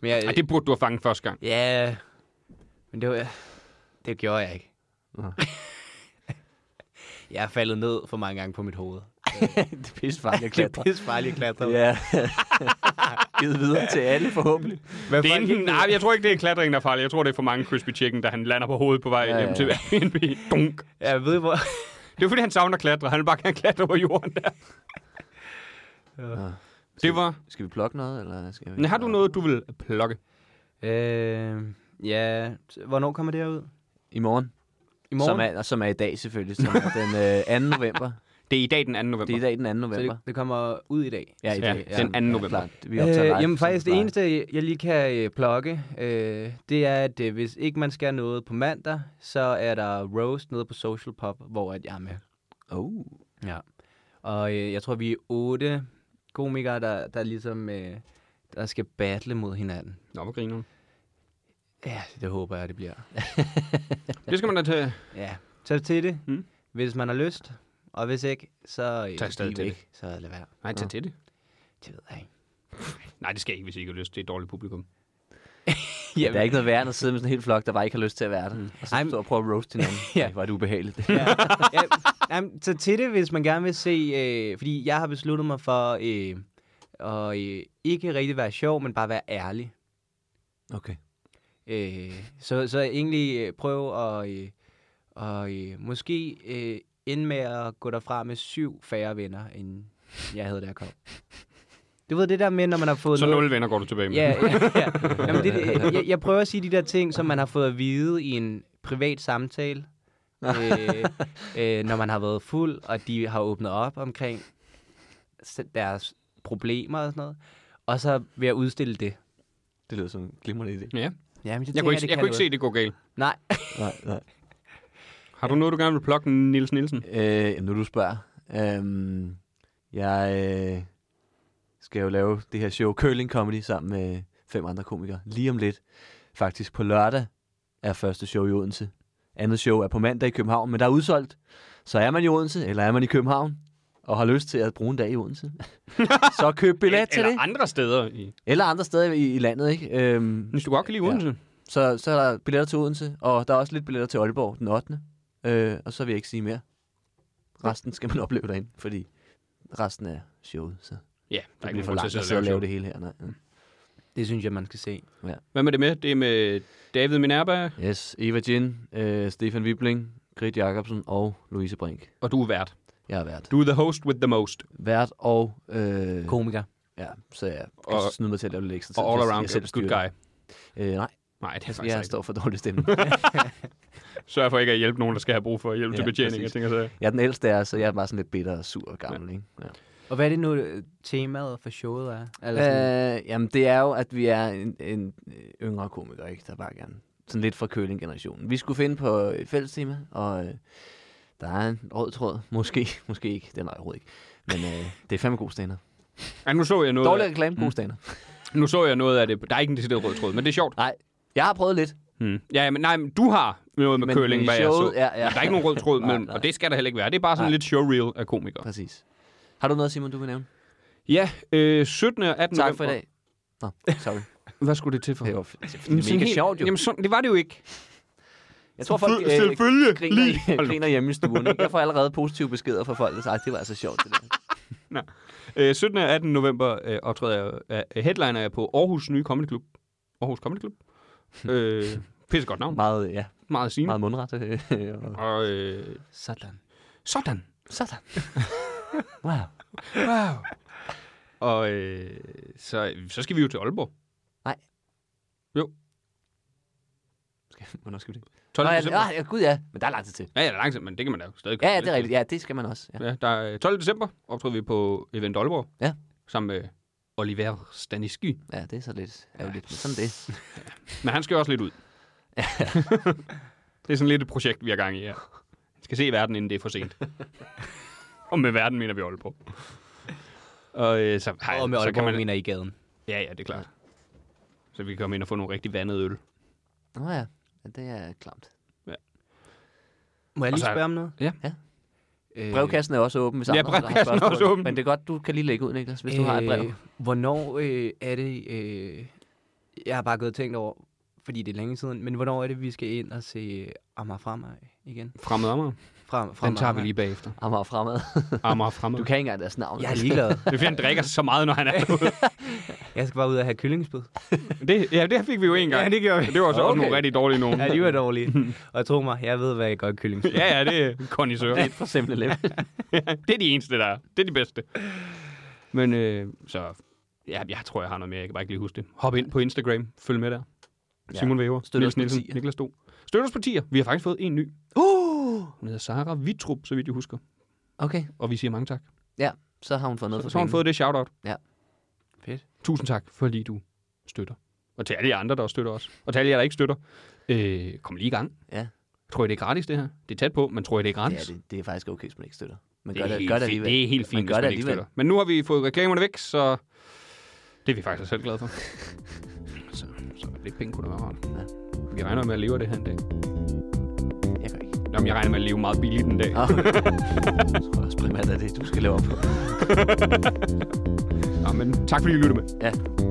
Men jeg,
Ej, det burde du have fanget første gang.
Ja, men det, var, det gjorde jeg ikke.
Nå.
jeg er faldet ned for mange gange på mit hoved.
det er pissefarligt at
Det
klatre.
er pissefarligt at klatre.
Ja. Givet videre til alle forhåbentlig.
Men
Det er
folk
enten,
ikke
nej, jeg tror ikke, det er klatringen, der er farlig. Jeg tror, det er for mange crispy chicken, da han lander på hovedet på vej
Ja,
ja,
ja,
hjem til Airbnb. Dunk.
Jeg ved, hvor...
Det er fordi, han savner at klatre. Han vil bare gerne klatre over jorden der.
Nå.
Det var...
Skal vi plukke noget, eller skal vi...
Men har du noget, du vil plukke?
øh, ja, hvornår kommer det her ud?
I morgen.
I
Som er, og som er i dag selvfølgelig, som er den øh, 2. november.
Det er i dag den 2. november.
Det er i dag den 2.
så
november.
det, det kommer ud i dag.
Ja, i
Ja,
dag.
den 2. november.
klart. Vi optager
Øh,
live,
jamen
som
faktisk det
plejer.
eneste, jeg- jeg lige kan øh, plukke, øh, det er, at øh, hvis ikke man skal noget på mandag, så er der roast nede på Social Pop, hvor at jeg er med.
Oh.
Ja. Og øh, jeg tror, vi er otte komikere, der, der ligesom øh, der skal battle mod hinanden.
Nå, hvor griner hun.
Ja, det håber jeg, det bliver.
Det skal man da tage.
Ja, tag til det,
Mm.
hvis man har lyst. Og hvis ikke, så... Øh,
Tag stadig
bliv
til
væk, Så lad være.
Nej, tag til det.
Det ved jeg ikke.
Nej, det skal jeg ikke, hvis I ikke har lyst. Det er et dårligt publikum.
Der er ikke noget værre, end at sidde med sådan en hel flok, der bare ikke har lyst til at være der. Og så
Ej, men-
stå og prøve at roast hinanden.
Ja.
ja. Ej, var det ubehageligt.
ja, ja, jamen, tag til det, hvis man gerne vil se... Øh, fordi jeg har besluttet mig for øh, at øh, ikke rigtig være sjov, men bare være ærlig.
Okay.
Øh, så, så egentlig øh, prøv at øh, og, øh, måske øh, ende med at gå derfra med syv færre venner, end jeg havde, da jeg kom. Du ved det der med, når man har fået
Så
noget...
nul venner går du tilbage med.
Ja, ja, ja. Jamen, det, det, jeg, jeg prøver at sige de der ting, som man har fået at vide i en privat samtale, øh, øh, når man har været fuld, og de har åbnet op omkring se- deres problemer og sådan noget. Og så ved at udstille det.
Det lyder som en glimrende idé.
ja.
Jamen, det
Jeg kunne ikke, jeg kunne ikke se, det går galt.
Nej.
Nej, nej.
Har du noget, du gerne vil plukke, Nils Nielsen?
Øh, nu du spørger. Øhm, jeg øh, skal jo lave det her show Curling Comedy sammen med fem andre komikere lige om lidt. Faktisk på lørdag er første show i Odense. Andet show er på mandag i København, men der er udsolgt. Så er man i Odense, eller er man i København, og har lyst til at bruge en dag i Odense, så køb billet til
Eller
det.
andre steder. I...
Eller andre steder i, i landet, ikke? Øhm,
Hvis du godt kan lide
Ja.
Odense.
så, så er der billetter til Odense, og der er også lidt billetter til Aalborg den 8. Øh, og så vil jeg ikke sige mere. Resten skal man opleve derinde, fordi resten er showet, så det
Ja, ja der er
bliver
ikke
for
nogen grund
langt
til
at
at
sidde
sidde
og lave
det.
det hele her. Nej. Mm.
Det synes jeg, man skal se.
Hvad med det med? Det er med David Minerva,
Yes, Eva Jin, øh, Stefan Wibling, Grit Jacobsen og Louise Brink.
og du er vært.
Jeg er vært.
Du er the host with the most.
Vært og... Øh,
Komiker.
ja, så jeg kan
Og-
snyde mig til at lave lidt ekstra
Og
tid,
all
hvis
around
jeg selv
good
styrer
guy.
det. Øh, nej,
Nej, det er faktisk
jeg
ikke.
står for dårlig stemning.
Sørg for ikke at hjælpe nogen, der skal have brug for hjælp til
Ja,
betjening. Jeg
præcis.
tænker så.
jeg er den ældste af, os, så jeg er bare sådan lidt bitter og sur og gammel, ikke? Ja.
Og hvad er det nu, øh, temaet for showet er? Eller sådan,
Øh, jamen, det er jo, at vi er en, en øh, yngre komiker, ikke? der bare gerne... Sådan lidt fra køling-generationen. Vi skulle finde på et fælles tema, og øh, der er en rød tråd. Måske, måske ikke. Det er nej, overhovedet ikke. Men øh, det er fandme gode stander.
Ej, nu så jeg noget.
Dårlig reklame, gode stander.
Nu så jeg noget af det. Der er ikke en decideret rød tråd, men det er sjovt.
Nej, jeg har prøvet lidt.
Hmm. Ja, men nej, men du har noget med
Men-
curling,
men i
hvad jeg så.
showet- ja, ja.
Der er ikke nogen rød tråd
Nej,
mellem,
nej.
og det skal der heller ikke være. Det er bare sådan
Nej.
lidt showreel af komikere.
Præcis. Har du noget, Simon, du vil nævne?
Ja, øh, 17. og 18.
Tak for
november-
i dag. Nå, sorry.
Hvad skulle det til for?
Det var
Jamen,
f-
sådan
mega
helt-
sjovt, jo.
Jamen, sådan, det var det jo ikke.
Jeg tror, folk øh,
Selvfø- selvfølgelig.
griner,
Lige. Hold
i-
nu.
griner hjemme i stuen. Ikke? Jeg får allerede positive beskeder fra folk, der siger, "Ej, det var altså sjovt. Det der.
Øh, 17. og 18. november øh, optræder jeg, øh, headliner jeg på Aarhus Nye Comedy Club. Aarhus Comedy Club. øh, pisse godt navn.
Meget, ja,
Meget sigende.
meget mundret. øh, og-
Og øh,
sådan.
sådan.
Sådan. wow.
Wow. og øh, så, så skal vi jo til Aalborg.
Skal, hvornår skal vi det?
12.
Nå,
Nå,
ja,
december.
ja, ja, gud ja, men der er lang tid til.
Ja, ja, der er langsomt, men det kan man da jo stadig
Ja,
komme
ja, det
til.
er rigtigt. Ja, det skal man også. Ja.
Ja, der er 12. december optræder vi på Event Aalborg.
Ja.
Sammen med Oliver Stanisky.
ja, det er så lidt ærgerligt, men sådan det.
Men han skal jo også lidt ud. det er sådan lidt et projekt, vi har gang i her. Vi skal se verden, inden det er for sent. og med verden mener vi Aalborg. Og, øh, så, hej,
og med
så kan
Aalborg
man,
man... mener I gaden.
Ja, ja, det er klart. Så vi kan komme ind og få nogle rigtig vandede øl.
Nå ja, ja det er klamt.
Må jeg
Og
lige
så er-
spørge om noget?
Ja.
Ja.
Øh,
Brevkassen er også åben, hvis
Ja,
andre har
brevkassen er
spørgsmål.
også åben. Øh.
Men det er godt, du kan lige lægge ud, Niklas, hvis du har et brev.
Øh, hvornår øh, er det, øh, jeg har bare gået og tænkt over, fordi det er længe siden, men hvornår er det, vi skal ind og se Amager Fremad igen?
Fremad Amager.
Frem, fremad
Den tager vi
Amager.
lige bagefter.
Amager fremad.
Amager Fremad.
Du kan ikke engang deres navn.
Jeg er ligeglad.
Det er fordi, han drikker så meget, når han er derude.
Jeg skal bare ud og have kyllingsbød.
Det, ja, det fik vi jo en gang.
Ja, det gjorde vi.
Og Det var så okay. også nogle
Okay.
rigtig dårlige nogen.
Ja, de var dårlige. Og tro mig, jeg ved, hvad jeg gør kyllingsbød.
ja, ja, det er kondisør.
Lidt for simpelt lidt.
det er de eneste, der er. Det er de bedste. Men øh, så... Ja, jeg tror, jeg har noget mere. Jeg kan bare ikke lige huske det. Hop ind på Instagram. Følg med der. Simon Væver,
Støt
Niels
os på
Nielsen,
partier.
Niklas Do. Støt os partier. Vi har faktisk fået en ny. Uh! Hun hedder Sara Vitrup, så vidt jeg husker.
Okay,
Og vi siger mange tak.
ja. Så har hun fået noget for
Så har hun
pengene.
fået det shout-out.
Fedt.
Tusind tak, fordi du støtter. Og til alle jer andre, der også støtter os. Og til alle jer, der ikke støtter. Øh, kom lige i gang.
Ja.
Tror I, det er gratis, det her? Det er tæt på, men tror I, det er
Ja,
gratis?
det, det er faktisk okay, hvis man ikke støtter. Men
det,
gør
er
det,
helt
gør det
fint.
alligevel.
det er helt fint,
Men gør
hvis
det
man ikke
alligevel.
støtter. Men nu har vi fået reklamerne væk, så det er vi faktisk selv glade for. så, så lidt penge kunne det være rart. Ja. Vi regner med at leve af det her en dag.
Jeg gør ikke.
Nå, men jeg regner med at leve meget billigt en dag.
Nå, okay. Jeg tror også primært, at det er det, du skal lave op på.
Nå, men tak fordi I lyttede med.
Ja.